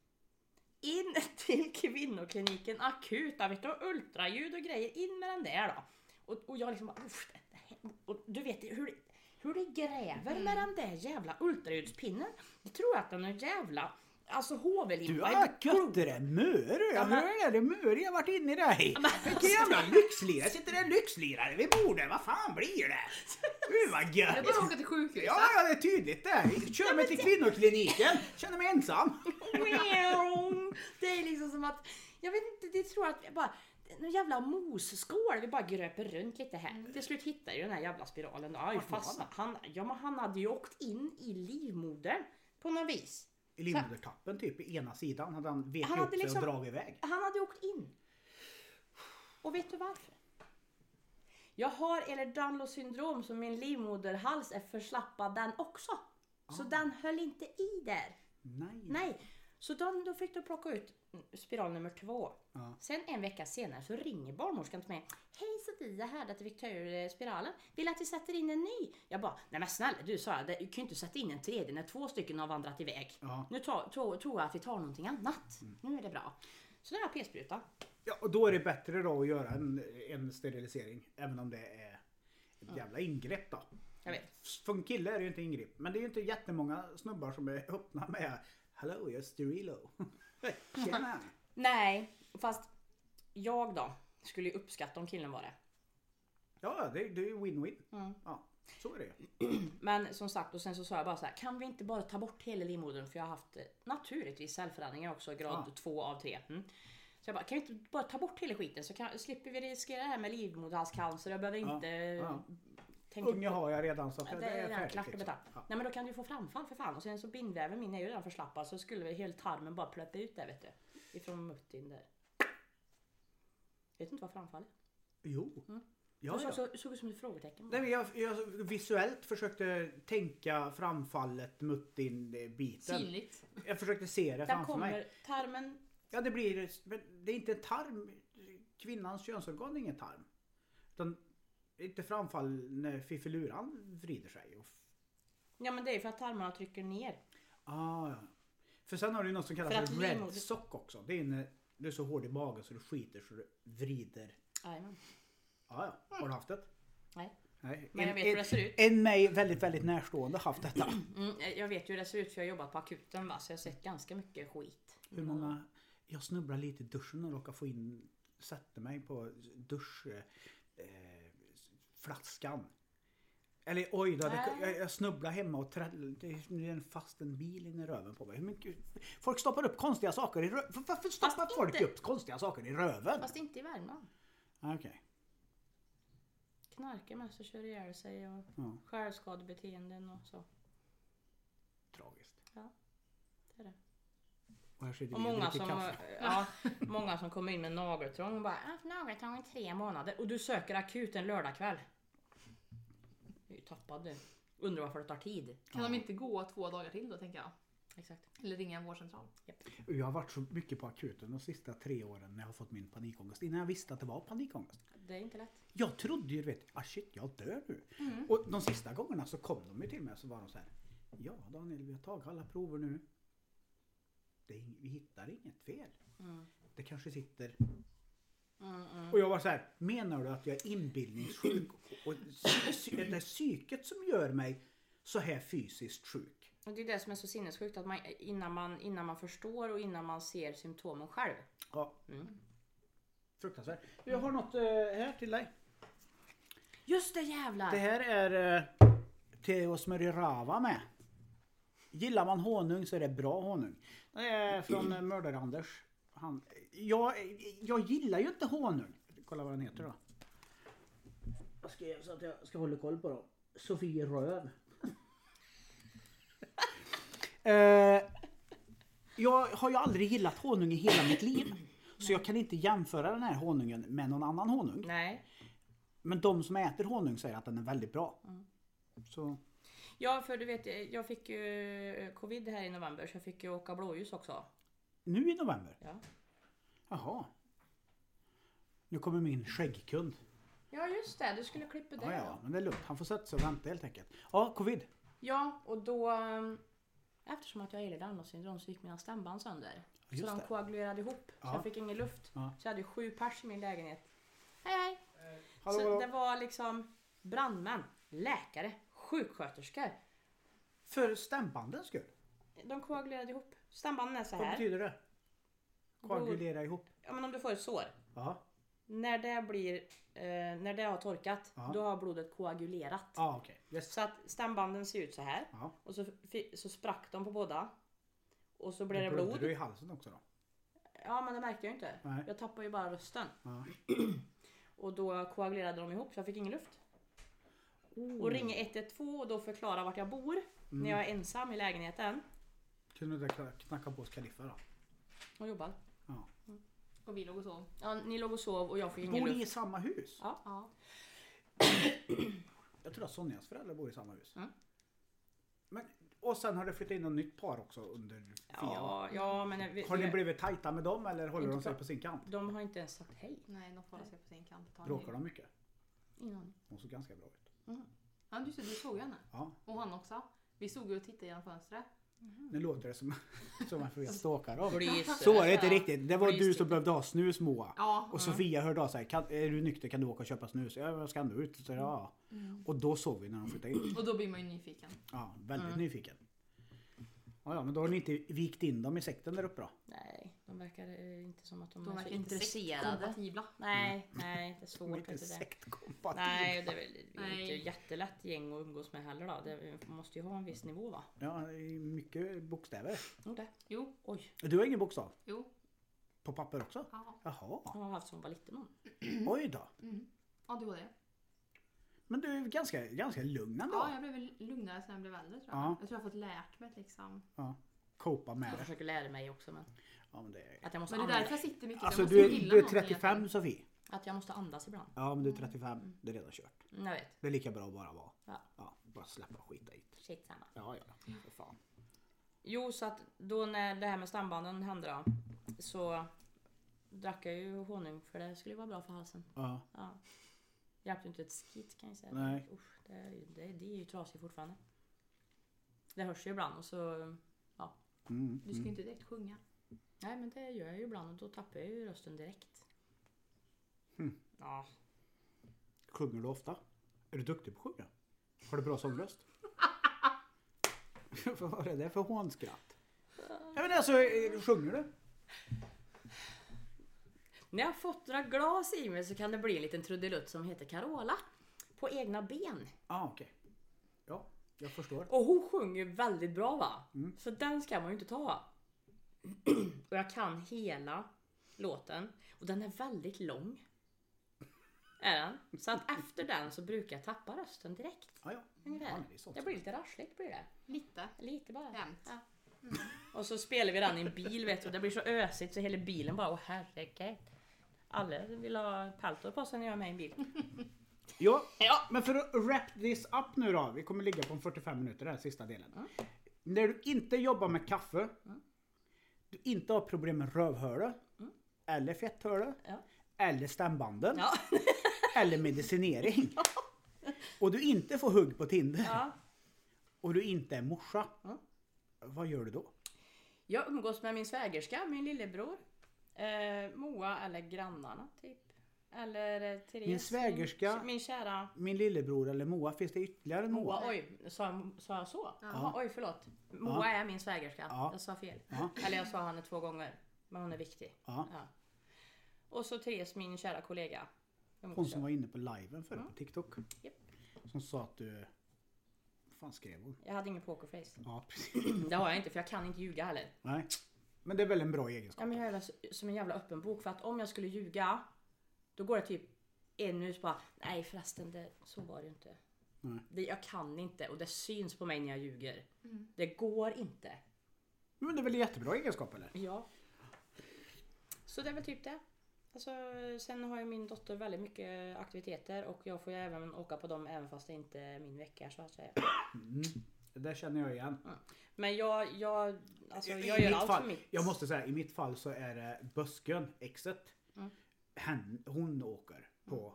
C: In till kvinnokliniken akut. där, Vet du, och ultraljud och grejer. In med den där då. Och, och jag liksom bara... "Uff, det- det här-" Och du vet hur, det- hur det gräver med
B: Mm.
C: den där jävla ultraljudspinnen. Jag tror att den är jävla... Alltså
B: Du
C: HV-limpa.
B: har gött det där möre. Jag
C: men-
B: hör det, det är möre jag varit inne i dig. Vilken jävla lyxlirare. Sitter det en lyxlirare vid bordet? Vad fan blir det? Gud vad
D: Jag
B: gött.
D: bara åka till sjukhuset.
B: Ja, ja, det är tydligt det. Kör mig till kvinnokliniken. Känner mig ensam.
C: Det är liksom som att... Jag vet inte, det tror jag att... Jag bara, någon jävla mosskål. Vi bara gröper runt lite här. Till slut hittar ju den här jävla spiralen. då. Aj,
B: Vart var
C: fastna. Han, ja, men han hade ju åkt in i livmodern på något vis.
B: I livmodertappen typ, i ena sidan hade han vekt
C: Han
B: ihop
C: hade
B: sig
C: liksom-
B: och dragit iväg.
C: Han hade åkt in. Och vet du varför? Jag har Ehlers-Danlos syndrom så min livmoderhals är förslappad den också. Så den höll inte i där.
B: Nej.
C: Nej, så de, då fick de plocka ut spiral nummer två.
B: Ja.
C: Sen en vecka senare så ringer barnmorskan till mig. Hej Sofia, här att vi tar ur eh, spiralen. Vill att vi sätter in en ny? Jag bara, nej men snälla du sa jag, det- du kan ju inte sätta in en tredje när två stycken har vandrat iväg.
B: Ja. Mm.
C: Nu tar- tror tror jag att vi tar någonting annat. Nu är det bra. Så den här p-sprutan.
B: Ja, och då är det bättre då att göra en, en sterilisering, även om det är ett jävla ingrepp då.
C: Jag vet.
B: För en kille är det ju inte ingrepp, men det är ju inte jättemånga snubbar som är öppna med Hello, jag är sterilo. Tjena!
C: Nej, fast jag då skulle ju uppskatta om killen var det.
B: Ja, det, det är ju win-win.
C: Mm.
B: Ja, så är det ju.
C: Men som sagt, och sen så sa jag bara så här, kan vi inte bara ta bort hela livmodern? För jag har haft eh, naturligtvis cellförändringar också, grad
B: Ja.
C: 2 av 3. Mm. Så jag bara, kan vi inte bara ta bort hela skiten så kan, slipper vi riskera det här med livmoderhalscancer? Jag behöver
B: Ja,
C: inte eh,
B: ja.
C: tänka
B: Unge har jag redan så att
C: det är redan klart och betalt.
B: liksom. Ja.
C: Nej men då kan du få framfall för fan. Och sen så bindväven min är ju redan förslappad så skulle väl hela tarmen bara plöppa ut där vet du. Ifrån muttin där. Vet du inte vad framfall är?
B: Jo.
C: Mm.
B: Ja,
C: Du
B: ja.
C: såg, såg, såg ut som ett frågetecken.
B: Nej, men jag, jag visuellt försökte tänka framfallet mot din eh, biten.
D: Synligt.
B: Jag försökte se det
C: Där
B: framför mig.
C: kommer tarmen
B: Ja, det blir... Men det är inte en tarm. Kvinnans könsorgan är ingen tarm. Utan det är inte framfall när fiffiluran vrider sig. Och...
C: Ja men det är ju för att tarmarna trycker ner.
B: Ah, ja. För sen har du ju något som
C: För
B: kallas
C: att
B: för red
C: livmoder-
B: sock också. Det är när du är så hård i magen så du skiter så du vrider.
C: Jajamän.
B: Ah, ja. Har du haft det?
C: Nej.
B: Nej.
C: Men jag
B: en,
C: vet hur det ser ut.
B: en, en mig väldigt, väldigt närstående haft detta.
C: Mm, jag vet ju hur det ser ut för jag har jobbat på akuten va, så jag har sett ganska mycket skit.
B: Hur många... Jag snubblar lite i duschen och råkar få in... Sätter mig på duschflaskan. Eh, flaskan. Eller oj då, det,
C: Nej.
B: jag, jag snubblar hemma och träll, det är en fast en bil in i röven på mig. Hur mycket, folk stoppar upp konstiga saker i röven. Varför stoppar
C: Fast
B: folk
C: inte-
B: upp konstiga saker i röven? Ah,
C: Fast inte i Värmland.
B: Okej.
C: Knarkar mest och kör ihjäl sig och
B: Ja,
C: självskadebeteenden och så.
B: tragiskt.
C: Det är det.
B: Och här sitter
C: Och
B: vi
C: många
B: dricker
C: som,
B: kaffe.
C: ja, många som kommer in med nageltrång och bara "Jag har haft nageltrång i tre månader och du söker akut en lördagkväll. Du är ju tappad du. Undrar varför det tar tid.
D: Kan de inte gå två dagar till då tänker jag?
C: Exakt.
D: Eller ringa en vårdcentral?
B: Och Jag har varit så mycket på akuten de sista tre åren när jag har fått min panikångest. Innan jag visste att det var panikångest.
C: Det är inte lätt.
B: Jag trodde ju, du vet, ah shit, jag dör nu.
C: Mm.
B: Och de sista gångerna så kom de ju till mig och så var de så här. Ja Daniel, vi har tagit alla prover nu. Det är, ing- vi hittar inget fel.
C: Mm.
B: Det kanske sitter...
C: Mm, mm.
B: Och jag var så här, menar du att jag är inbildningssjuk? Och psy- psy- det är psyket som gör mig så här fysiskt sjuk.
C: Och det är det som är så sinnessjukt att man, innan, man, innan man förstår och innan man ser symptomen själv.
B: Ja.
C: Mm.
B: Fruktansvärt. Jag har något eh, här till dig.
C: Just det jävlar!
B: Det här är eh, till att smörja rava med. Gillar man honung så är det bra honung. Det är från eh, Mördar-Anders. Han, jag, jag gillar ju inte honung. Kolla vad den heter då. Jag skrev så att jag ska hålla koll på dem. Sofie Röv. eh, jag har ju aldrig gillat honung i hela mitt liv. Så jag kan inte jämföra den här honungen med någon annan honung.
C: Nej.
B: Men de som äter honung säger att den är väldigt bra.
C: Mm.
B: Så,
C: Ja för du vet jag fick ju eh, covid här i november så jag fick ju åka blåljus också.
B: nu i november?
C: Ja,
B: Jaha. Nu kommer min skäggkund.
C: ja just det, du skulle klippa det.
B: Ja, ja, men det är lugnt. Han får sätta sig och vänta helt enkelt. Ja, covid.
C: Ja, och då... ehm, Eftersom att jag gillade Downs syndrom så gick mina stämband sönder.
B: Just
C: så de
B: det.
C: koagulerade ihop.
B: Ja.
C: Så jag fick ingen luft.
B: Ja.
C: Så jag hade ju sju pers i min lägenhet. Hej hej!
B: Hallå,
C: så
B: hallå.
C: det var liksom brandmän, läkare, sjuksköterskor.
B: För stämbandens skull.
C: De koagulerade ihop. Stambanden är så
B: Vad
C: här.
B: betyder det? Koagulera ihop.
C: Ja, men om du får ett sår.
B: Ja.
C: När det, blir, eh, när det har torkat,
B: Ja.
C: då har blodet koagulerat.
B: Ja, okej. Yes.
C: Så att stambanden ser ut så här.
B: Ja.
C: Och så, fi- så sprack de på båda. Och så blev det
B: Blödde
C: blod.
B: du i halsen också då?
C: Ja men det märkte jag ju inte.
B: Nej.
C: Jag tappade ju bara rösten.
B: Ja.
C: Och då koagulerade de ihop så jag fick ingen luft. Och
B: Mm.
C: ringer 112 och då förklarar vart jag bor. När jag är ensam i lägenheten.
B: Kunde du inte kna- knacka på hos Kaliffa då?
C: Och jobbar.
B: Ja.
D: Och vi låg och sov.
C: Ja, ni låg och sov och jag fick ingen
B: Bor ni
C: luft.
B: i samma hus?
C: Ja.
D: Ja.
B: Jag tror att Sonjas föräldrar bor i samma hus.
C: Mm.
B: Men, och sen har det flyttat in något nytt par också under Fia va?
C: Ja, ja men vi,
B: Har ni
C: vi-
B: blivit tajta med dem eller håller
C: Inte
B: de sig
C: så.
B: på sin kant?
C: de har inte ens sagt hej.
D: Nej, de får hålla sig på sin kant. Ta en
B: Bråkar
D: ny.
B: de mycket?
C: Ingen aning.
B: Hon såg ganska bra ut.
D: Ja, just det, du såg henne.
B: Ja,
D: Och han också. Vi såg ju och tittade genom fönstret.
C: Mm.
B: nu låter det som, som att vi stalkar dem.
C: Blis.
B: Så var det inte riktigt. Det var
C: Blir
B: du
C: stilla.
B: som behövde ha snus Moa.
D: Ja.
B: Och Sofia hörde av sig. Kan, är du nykter kan du åka och köpa snus? Ja, jag ska ändå ut. Så, ja.
C: Mm.
B: Och då såg vi när de flyttade in.
D: Mm. Och då blir man ju nyfiken.
B: Ja, väldigt
C: Mm.
B: nyfiken. Ja, ja, men då har ni inte vikt in dem i sekten där uppe då?
C: Nej, de verkar eh, inte som att de,
D: De
C: är så
D: verkar inte
C: intresserade.
D: kompatibla.
C: Nej, nej, det är
B: De är
C: svårt.
B: inte
C: vet du det.
B: sektkompatibla.
C: Nej, det är väl det är
D: Nej.
C: inte jättelätt gäng att umgås med heller då. Det måste ju ha en viss nivå va?
B: Ja, det är mycket bokstäver.
C: Jo, det.
D: Jo,
C: Oj,
B: Du har ingen bokstav?
D: jo.
B: På papper också?
D: Ja,
B: Jaha,
C: hon har haft som var liten hon.
D: Mm.
B: oj då.
D: ja du har det.
B: Men du är ganska, ganska lugn ändå.
D: Ja, jag blev väl lugnare sen jag blev äldre tror jag.
B: Ja.
D: Jag tror jag har fått lärt mig liksom.
B: Ja. Copa med
C: Jag
B: det.
C: försöker lära mig också men
B: Ja, men det är...
C: att jag måste,
D: Men det är därför
C: andas,
D: jag sitter mycket.
B: Alltså
D: jag måste
B: du, är-
D: gilla
B: du är
D: någonting
B: 35 Sofie.
C: att jag måste andas ibland.
B: Ja men du
D: Mm.
B: är 35, det är redan kört.
C: Mm, Jag vet,
B: Det är lika bra att bara vara.
C: Ja.
B: bara släppa och skita i det.
C: shit samma.
B: Ja ja, för fan.
C: Jo så att då när det här med stambanden hände då så drack jag ju honung för det skulle ju vara bra för halsen.
B: Ja.
C: Ja. Hjälpte inte ett skit kan jag säga.
B: Nej.
C: Usch, det, är ju- det, det är ju trasigt fortfarande. Det hörs ju ibland och så
B: Mm.
D: Du ska ju inte direkt sjunga.
C: Nej men det gör jag ju ibland och då tappar jag ju rösten direkt. Ja,
B: Sjunger du ofta? Är du duktig på att sjunga? Har du bra sångröst? Vad var det där för hånskratt? Ja men alltså, eh, sjunger du?
C: När jag fått några glas i mig så kan det bli en liten trudelutt som heter Carola. På egna ben.
B: Ja, ah, okej. Ja, jag förstår.
C: Och hon sjunger väldigt bra va? Så den ska man ju inte ta. och jag kan hela låten. Och den är väldigt lång. Är den? Så att efter den så brukar jag tappa rösten direkt.
B: Ah, ja, ja.
C: Ungefär.
B: men det är sånt.
C: det blir lite rassligt blir det.
D: Lite.
C: Lite bara.
D: Jämt.
C: Ja. Och så spelar vi den i en bil vet du. Det blir så ösigt så hela bilen bara åh herregud. Alla vill ha paltor på sig när jag är med i en bil.
B: Ja,
C: Ja.
B: men för att wrap this up nu då. Vi kommer ligga på en 45 minuter den här sista delen. När du inte jobbar med kaffe, du inte har problem med rövhåla, eller fetthåla,
C: Ja.
B: eller stämbanden,
C: Ja.
B: eller medicinering. Och du inte får hugg på Tinder,
C: ja.
B: och du inte är morsa.
C: Mm.
B: Vad gör du då?
C: Jag umgås med min svägerska, min lillebror. Eh, Moa eller grannarna typ. Eller eh, Therese.
B: Min svägerska-
C: Min, min kära.
B: Min lillebror eller Moa, finns det ytterligare några?
C: Moa, oj, sa jag, sa jag så? Jaha, oj förlåt. Moa är min svägerska.
B: Ja.
C: Jag sa fel.
B: Ja.
C: Eller jag sa henne två gånger. Men hon är viktig.
B: Ja.
C: Ja. Och så Therese, min kära kollega.
B: Hon som var inne på liven förut på TikTok.
C: Japp.
B: Som sa att du... Vad fan skrev hon?
C: Jag hade ingen pokerface.
B: Ja, precis.
C: Det har jag inte för jag kan inte ljuga heller.
B: Nej. Men det är väl en bra egenskap.
C: Ja, men jag är väl som en jävla öppen bok för att om jag skulle ljuga då går det typ en minut bara nej förresten det, så var det ju inte.
B: Nej.
C: Det, jag kan inte och det syns på mig när jag ljuger. Det går inte.
B: Men det är väl en jättebra egenskap eller?
C: Ja. Så det är väl typ det. Alltså, sen har ju min dotter väldigt mycket aktiviteter och jag får ju även åka på dem även fast det inte är min vecka så att säga.
B: Mm. Det där känner jag igen.
C: Men jag, jag, alltså,
B: I-
C: jag
B: I
C: gör
B: mitt
C: allt
B: fall,
C: för mitt.
B: Jag måste säga, i mitt fall så är det Bösken, exet.
C: Mm.
B: Hen, hon åker på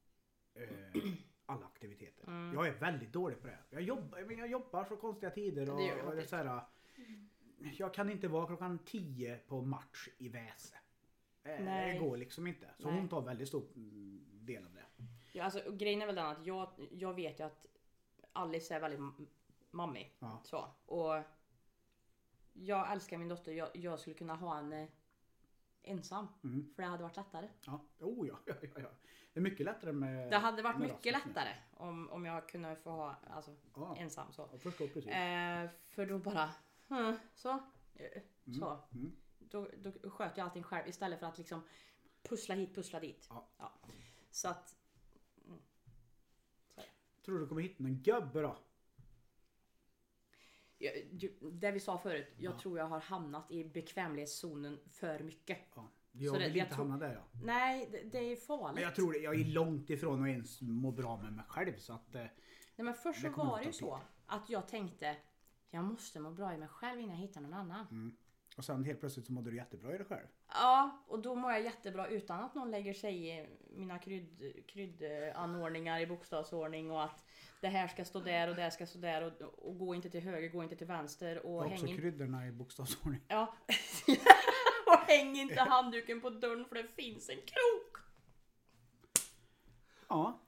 B: eh, alla aktiviteter.
C: Mm.
B: Jag är väldigt dålig på det. Jag jobbar, men jag jobbar så konstiga tider och,
C: Det gör du
B: och det är
C: faktiskt.
B: så här, Jag kan inte vara klockan 10 på match i Väse. Eh, Det
C: Nej.
B: går liksom inte. Så
C: Nej.
B: hon tar väldigt stor mm, del av det.
C: Ja, alltså, och grejen är väl den att jag, jag vet ju att Alice är väldigt m- mammig.
B: Ja.
C: Så. Och jag älskar min dotter. Jag, jag skulle kunna ha henne ensam.
B: Mm.
C: För det hade varit lättare.
B: Ja. Oh, ja, ja, ja, ja. Det är mycket lättare med...
C: Det hade varit
B: med
C: mycket
B: Rasmus nu.
C: lättare om, om jag kunde få ha alltså,
B: Ja.
C: ensam. Så.
B: Jag förstår precis.
C: Eh, för då bara... "Hm, Så. eh, så.
B: mm.
C: Då, då sköter jag allting själv istället för att liksom pussla hit, pussla dit.
B: Ja.
C: Så att... Så är det.
B: Tror du kommer hitta någon gubbe då?
C: Jag- ju- Det vi sa förut, jag tror jag har hamnat i bekvämlighetszonen för mycket.
B: Ja. Jag
C: Så det-
B: vill
C: jag
B: inte
C: tror-
B: hamna där ja.
C: Nej, det, det är ju farligt.
B: Men jag tror det, jag är långt ifrån att ens må bra med mig själv så att... eh,
C: Nej, men först så
B: det kommer
C: var det
B: ta
C: ju så att jag tänkte jag måste må bra i mig själv innan jag hittar någon annan.
B: Mm. Och sen helt plötsligt så mådde du jättebra i dig själv.
C: Ja, och då mår jag jättebra utan att någon lägger sig i mina krydd- kryddanordningar i bokstavsordning och att det här ska stå där och det här ska stå där och, och gå inte till höger, gå inte till vänster och
B: Och
C: häng
B: också
C: inte
B: kryddorna i bokstavsordning.
C: Ja. och häng inte handduken på dörren för det finns en krok.
B: Ja.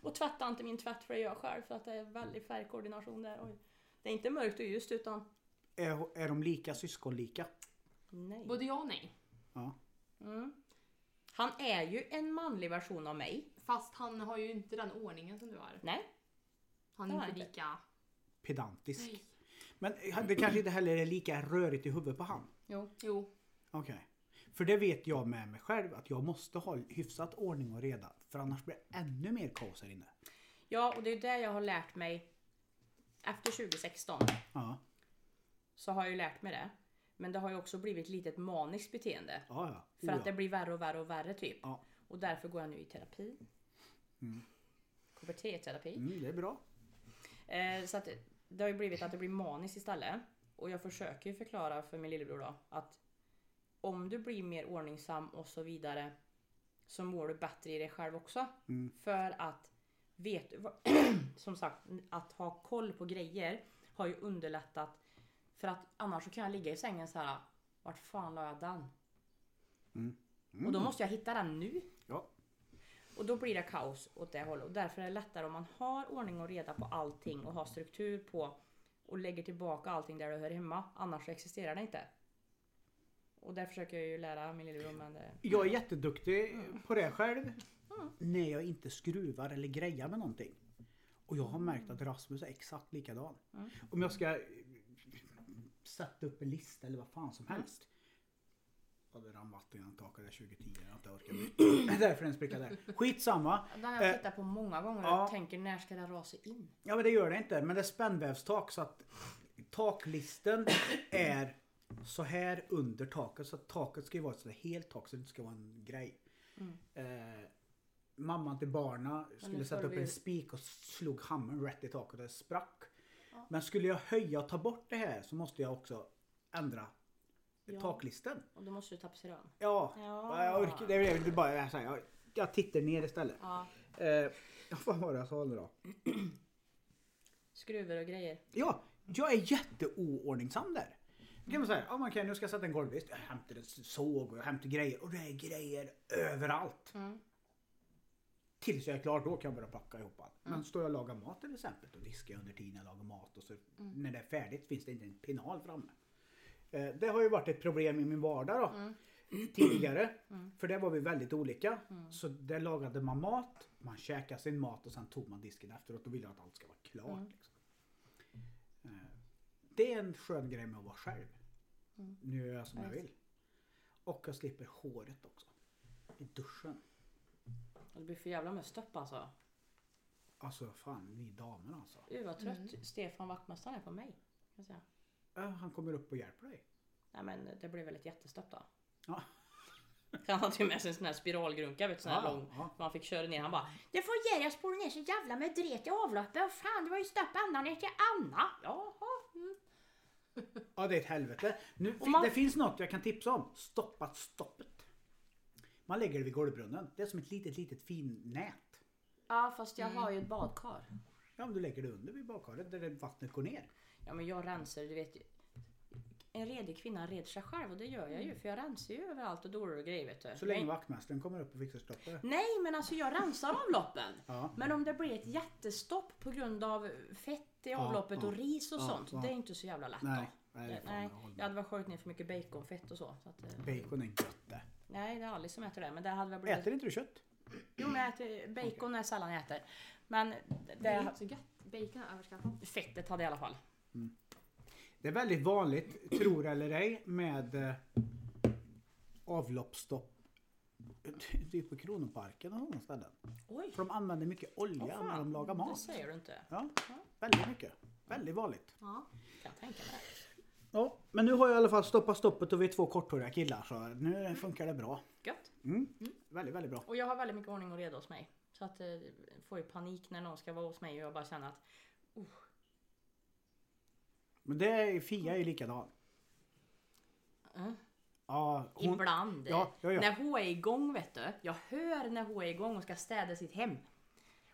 C: Och tvätta inte min tvätt för det gör jag själv för att det är väldigt färgkoordination där. Oj. Det är inte mörkt och ljust utan
B: Är, är de lika syskonlika?
C: nej.
D: Både ja och nej.
B: Ja.
C: Mm. Han är ju en manlig version av mig.
D: Fast han har ju inte den ordningen som du har.
C: Nej.
D: Han
C: Det
D: är
C: har
D: inte
C: han
D: lika...
B: Pedantisk.
D: Nej.
B: Men eh, det kanske inte heller är lika rörigt i huvudet på han.
C: Jo.
D: Jo.
B: Okej. För det vet jag med mig själv att jag måste ha hyfsat ordning och reda. För annars blir det ännu mer kaos här inne.
C: Ja, och det är det jag har lärt mig efter 2016.
B: Ja.
C: Så har jag ju lärt mig det. Men det har ju också blivit lite ett maniskt beteende.
B: Ja, ja.
C: För
B: Oh,
C: att det
B: ja.
C: blir värre och värre och värre typ.
B: Ja.
C: Och därför går jag nu i terapi. KBT-terapi.
B: Mm, det är bra.
C: Eh, så att det har ju blivit att det blir maniskt istället. Och jag försöker ju förklara för min lillebror då att om du blir mer ordningsam och så vidare så mår du bättre i dig själv också.
B: Mm.
C: För att vet du vad- som sagt att ha koll på grejer har ju underlättat för att annars så kan jag ligga i sängen så här vart fan la jag den? Och då måste jag hitta den nu.
B: Ja.
C: Och då blir det kaos åt det hållet. Och därför är det lättare om man har ordning och reda på allting och har struktur på och lägger tillbaka allting där det hör hemma. Annars så existerar det inte. Och det försöker jag ju lära min lillebror men eh, det...
B: Jag är jätteduktig på det själv.
C: Mm.
B: När jag inte skruvar eller grejar med någonting. Och jag har märkt att Rasmus är exakt likadan.
C: Mm.
B: Om jag ska eh, sätta upp en lista eller vad fan som
C: Mm.
B: helst. Ja, det rann vatten genom taket där 2010. Jag har inte orkat. med. Därför är den spricka där. Skitsamma.
C: Den har
B: Eh,
C: jag tittat på många gånger och
B: ja.
C: tänker när ska det rasa in?
B: Ja men det gör det inte. Men det är spännvävstak så att taklisten är så här under taket. Så att taket ska ju vara ett sådär helt tak så det inte ska vara en grej. Eh, mamman till barna skulle
C: Mm. nu
B: sätta
C: får
B: upp
C: vi-
B: en spik och slog hammaren rätt i taket och det sprack. Men skulle jag höja och ta bort det här så måste jag också ändra
C: Ja.
B: taklisten.
C: Och då måste du tapetsera om.
B: Ja,
C: Ja.
B: Jag orkar, det är bara så här, jag, jag tittar ner istället.
C: Ja.
B: Eh, vad var det jag sa nu då?
C: Skruvar och grejer.
B: Ja, jag är jätteoordningsam där. Då kan man säga, ja man kan, nu ska jag sätta en golvvist. Jag hämtar en såg och jag hämtar grejer och det är grejer överallt.
C: Mm.
B: Tills jag är klar, då kan jag börja packa ihop allt. Men står jag och lagar mat till exempel, då diskar jag under tiden jag lagar mat och så när det är färdigt finns det inte en penal framme. Eh, Det har ju varit ett problem i min vardag då. Tidigare. För det var vi väldigt olika. Så där lagade man mat, man käkade sin mat och sen tog man disken efteråt. Då ville jag att allt ska vara klart. Liksom. Eh, Det är en skön grej med att vara själv. Nu gör jag som jag vill. Och jag slipper håret också. I duschen.
C: Och det blir för jävla möstopp alltså.
B: Alltså fan, ni damer alltså.
C: Gud vad trött Stefan Wachtmästaren är på mig. kan jag säga.
B: Ja, han kommer upp och hjälper dig.
C: Nej men det blev väl ett jättestopp då.
B: Ja.
C: Han hade ju med sig en sån här spiralgrunka, vet, du, sån här
B: Ja,
C: lång.
B: ja.
C: Man fick köra ner. Han bara Det får ge dig, jag spolar ner så jävla med dret i avloppet. Och fan det var ju stopp ända ner till Anna. Jaha. Mm.
B: Ja, det är ett helvete. Nu, fi-
C: man-
B: Det finns något jag kan tipsa om. Stoppat stoppet. Man lägger det vid golvbrunnen. Det är som ett litet, litet finnät.
C: Ja fast jag har ju ett badkar.
B: Ja, men du lägger det under vid badkaret där det- vattnet går ner.
C: Ja men jag rensar du vet ju. En redig kvinna reder sig själv och det gör jag ju för jag rensar ju överallt och dårar och grejer vet du.
B: Så länge
C: Nej.
B: vaktmästaren kommer upp och fixar stoppet.
C: Nej men alltså jag rensar avloppen.
B: Ja.
C: Men om det blir ett jättestopp på grund av fett i avloppet
B: ja.
C: och ris och
B: Ja,
C: sånt.
B: ja.
C: Det är inte så jävla lätt
B: Nej,
C: då.
B: nej, det är fan,
C: nej,
B: jag håller med.
C: jag hade väl skörjt ner för mycket baconfett och så. så att, eh,
B: Bacon är gött det.
C: nej det är Alice som äter det. Men det hade väl blivit...
B: Äter inte du kött?
C: Jo men jag äter, bacon är sällan jag äter. Men
D: Det är
C: det,
B: Mm.
D: inte så gött. Bacon är överskattat.
C: fettet hade jag i alla fall.
B: Det är väldigt vanligt, tror eller ej, med eh, avloppsstopp. Typ på Kronoparken och sådana ställen.
C: Oj!
B: För de använder mycket olja
C: vad fan,
B: när de lagar
C: Det
B: mat.
C: säger du inte.
B: Ja, väldigt mycket. Väldigt vanligt.
D: Ja.
C: Kan jag tänka mig.
B: Ja, men nu har jag i alla fall stoppat stoppet och vi är två korthåriga killar så
C: Mm.
B: nu funkar det bra.
C: Gött.
B: Väldigt, väldigt bra.
C: Och jag har väldigt mycket ordning och reda hos mig. Så att eh, jag får ju panik när någon ska vara hos mig och jag bara känner att
B: Men det är, Fia är ju likadan.
C: Mm.
B: Ja, hon,
C: Ibland.
B: Ja, ja, ja.
C: När hon är igång vet du. Jag hör när hon är igång och ska städa sitt hem.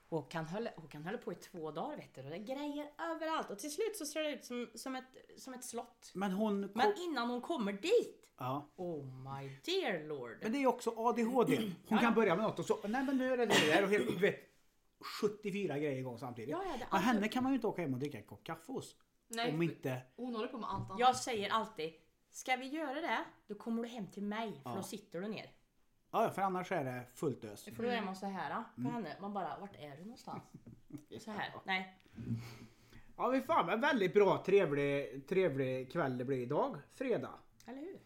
C: Och kan hålla, hon kan hålla på i två dagar vet du. Och det är grejer överallt. Och till slut så ser det ut som, som, ett, som ett slott.
B: men hon... Kom,
C: Men innan hon kommer dit.
B: ja.
C: Oh my dear lord.
B: Men det är ju också ADHD. Hon kan börja med något och så, nej men nu är det det där och helt, du vet, 74 grejer igång samtidigt.
C: Ja, ja, det är
B: men henne
C: alltid-
B: kan man ju inte åka hem och dricka en kopp kaffe hos.
D: Nej,
B: Om inte...
D: Hon håller på med allt annat.
C: Jag säger alltid. Ska vi göra det? Då kommer du hem till mig. För
B: Ja.
C: då sitter du ner.
B: Ja, ja, för annars är det fullt ös.
C: För då är man så här ah, på
B: Mm.
C: henne. Man bara, vart är du någonstans? Så här. Nej.
B: Ja, vi fan, men väldigt bra, trevlig, trevlig kväll det blir idag. Fredag.
C: Eller hur?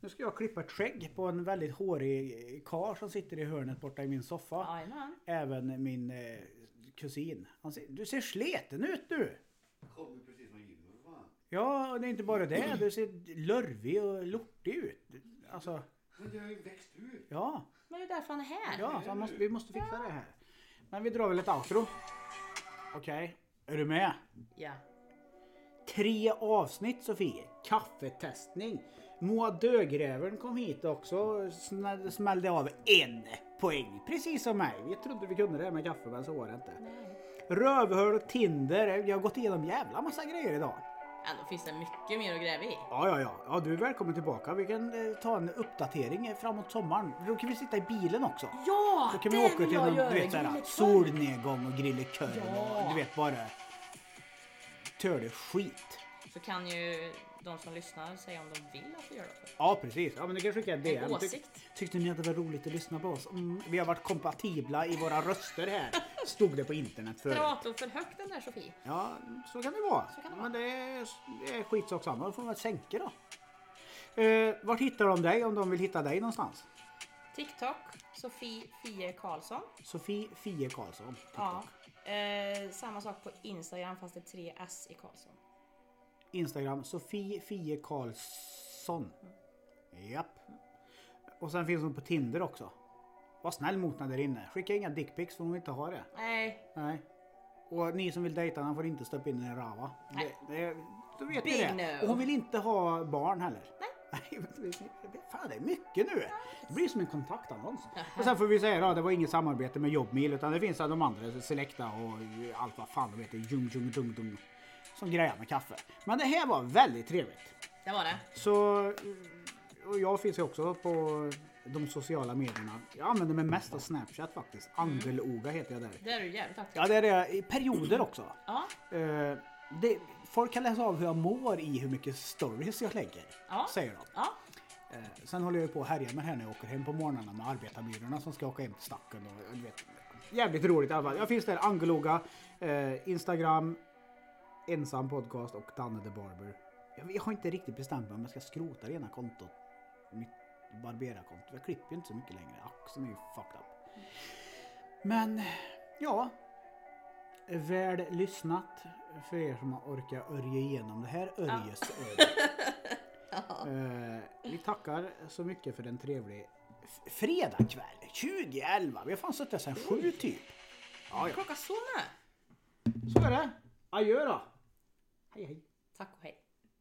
B: Nu ska jag klippa ett skägg på en väldigt hårig kar som sitter i hörnet borta i min soffa.
C: Jajamän.
B: Även min eh, kusin. Han ser, du ser sleten ut du!
E: Kommer precis från gymmet för fan.
B: Ja, och det är inte bara det. Du ser lurvig och lortig ut. Alltså,
E: Men jag har ju växt ur.
B: ja.
C: Men det är därför han är här.
B: Ja, så han måste, vi måste fixa det här. Men vi drar väl ett outro. Okej, är du med?
C: ja.
B: Tre avsnitt Sofie. Kaffetestning. Moa Dögrävern kom hit också och sna- smällde av en poäng. Precis som mig. Vi trodde vi kunde det här med kaffe men så var det inte. Rövhål och Tinder. Jag har gått igenom jävla massa grejer idag.
C: Ja, då finns det mycket mer att gräva i.
B: Ja, ja, ja. ja du är välkommen tillbaka. Vi kan eh, ta en uppdatering eh, framåt sommaren. Då kan vi sitta i bilen också.
C: Ja,
B: Då kan vi åka till någon du vet, såhär, solnedgång och grilla korv
C: Ja.
B: och du vet bara törde skit.
C: Så kan ju de som lyssnar säga om de vill att vi gör det. också.
B: Ja precis, ja, men du kan skicka ett DM.
C: En
B: Tyck-
C: åsikt.
B: tyckte ni att det var roligt att lyssna på oss? Mm, vi har varit kompatibla i våra röster här. Stod det på internet förut.
C: Pratar för högt den där Sofie.
B: Ja, så kan det vara.
C: Så kan det
B: Men det är, det är skitsak samma, då får man väl sänka då. Eh, vart hittar de dig om de vill hitta dig någonstans?
C: TikTok, Sofie Fie Karlsson.
B: Sofie Fie Karlsson.
C: Ja.
B: TikTok.
C: Eh, samma sak på Instagram fast det är tre S i Karlsson.
B: Instagram Sofie Fie Karlsson. Japp. Och sen finns hon på Tinder också. Var snäll mot henne där inne. Skicka inga dickpics för hon vill inte ha det.
C: Nej,
B: Nej. Och ni som vill dejta henne får inte stoppa in en rava.
C: Nej.
B: Det, det, då vet
C: Big
B: ni det.
C: no.
B: Och hon vill inte ha barn heller. Nej. Fan det är mycket nu. Det blir som en kontaktannons. Och sen får vi säga att det var inget samarbete med Jobmil utan det finns här de andra, Selecta och allt vad fan de heter, Jung Jung Dung Dung. Som grejer med kaffe. Men det här var väldigt trevligt.
C: det var det.
B: Så, och jag finns ju också på de sociala medierna. Jag använder mig mest av Snapchat faktiskt.
C: Mm.
B: Angeloga heter jag där.
C: Det är du jävligt aktiv.
B: Ja, det är det. I perioder också.
C: Ja,
B: Eh, det, folk kan läsa av hur jag mår i hur mycket stories jag lägger.
C: Ja.
B: Säger de.
C: ja.
B: Eh, sen håller jag ju på och härjar med det här när jag åker hem på morgnarna med arbetarbyrorna som ska åka hem till stacken. Och, du vet, jävligt roligt i alla fall. Jag finns där, Angeloga, eh, Instagram, Ensam Podcast och Danne the Barber. Jag, jag har inte riktigt bestämt mig om jag ska skrota det ena kontot. Mitt barberarkonto. Jag klipper ju inte så mycket längre. Axeln är ju fucked up. Men, ja. Väl lyssnat för er som har orkat örja igenom det här örjesödet. Eh, vi tackar så mycket för en trevlig f- fredagkväll. 2011. Vi har fan suttit här sedan sju typ. Ja, ja.
C: Klockan så nära.
B: Så är det. Adjö då. Hej hej.
C: Tack och hej.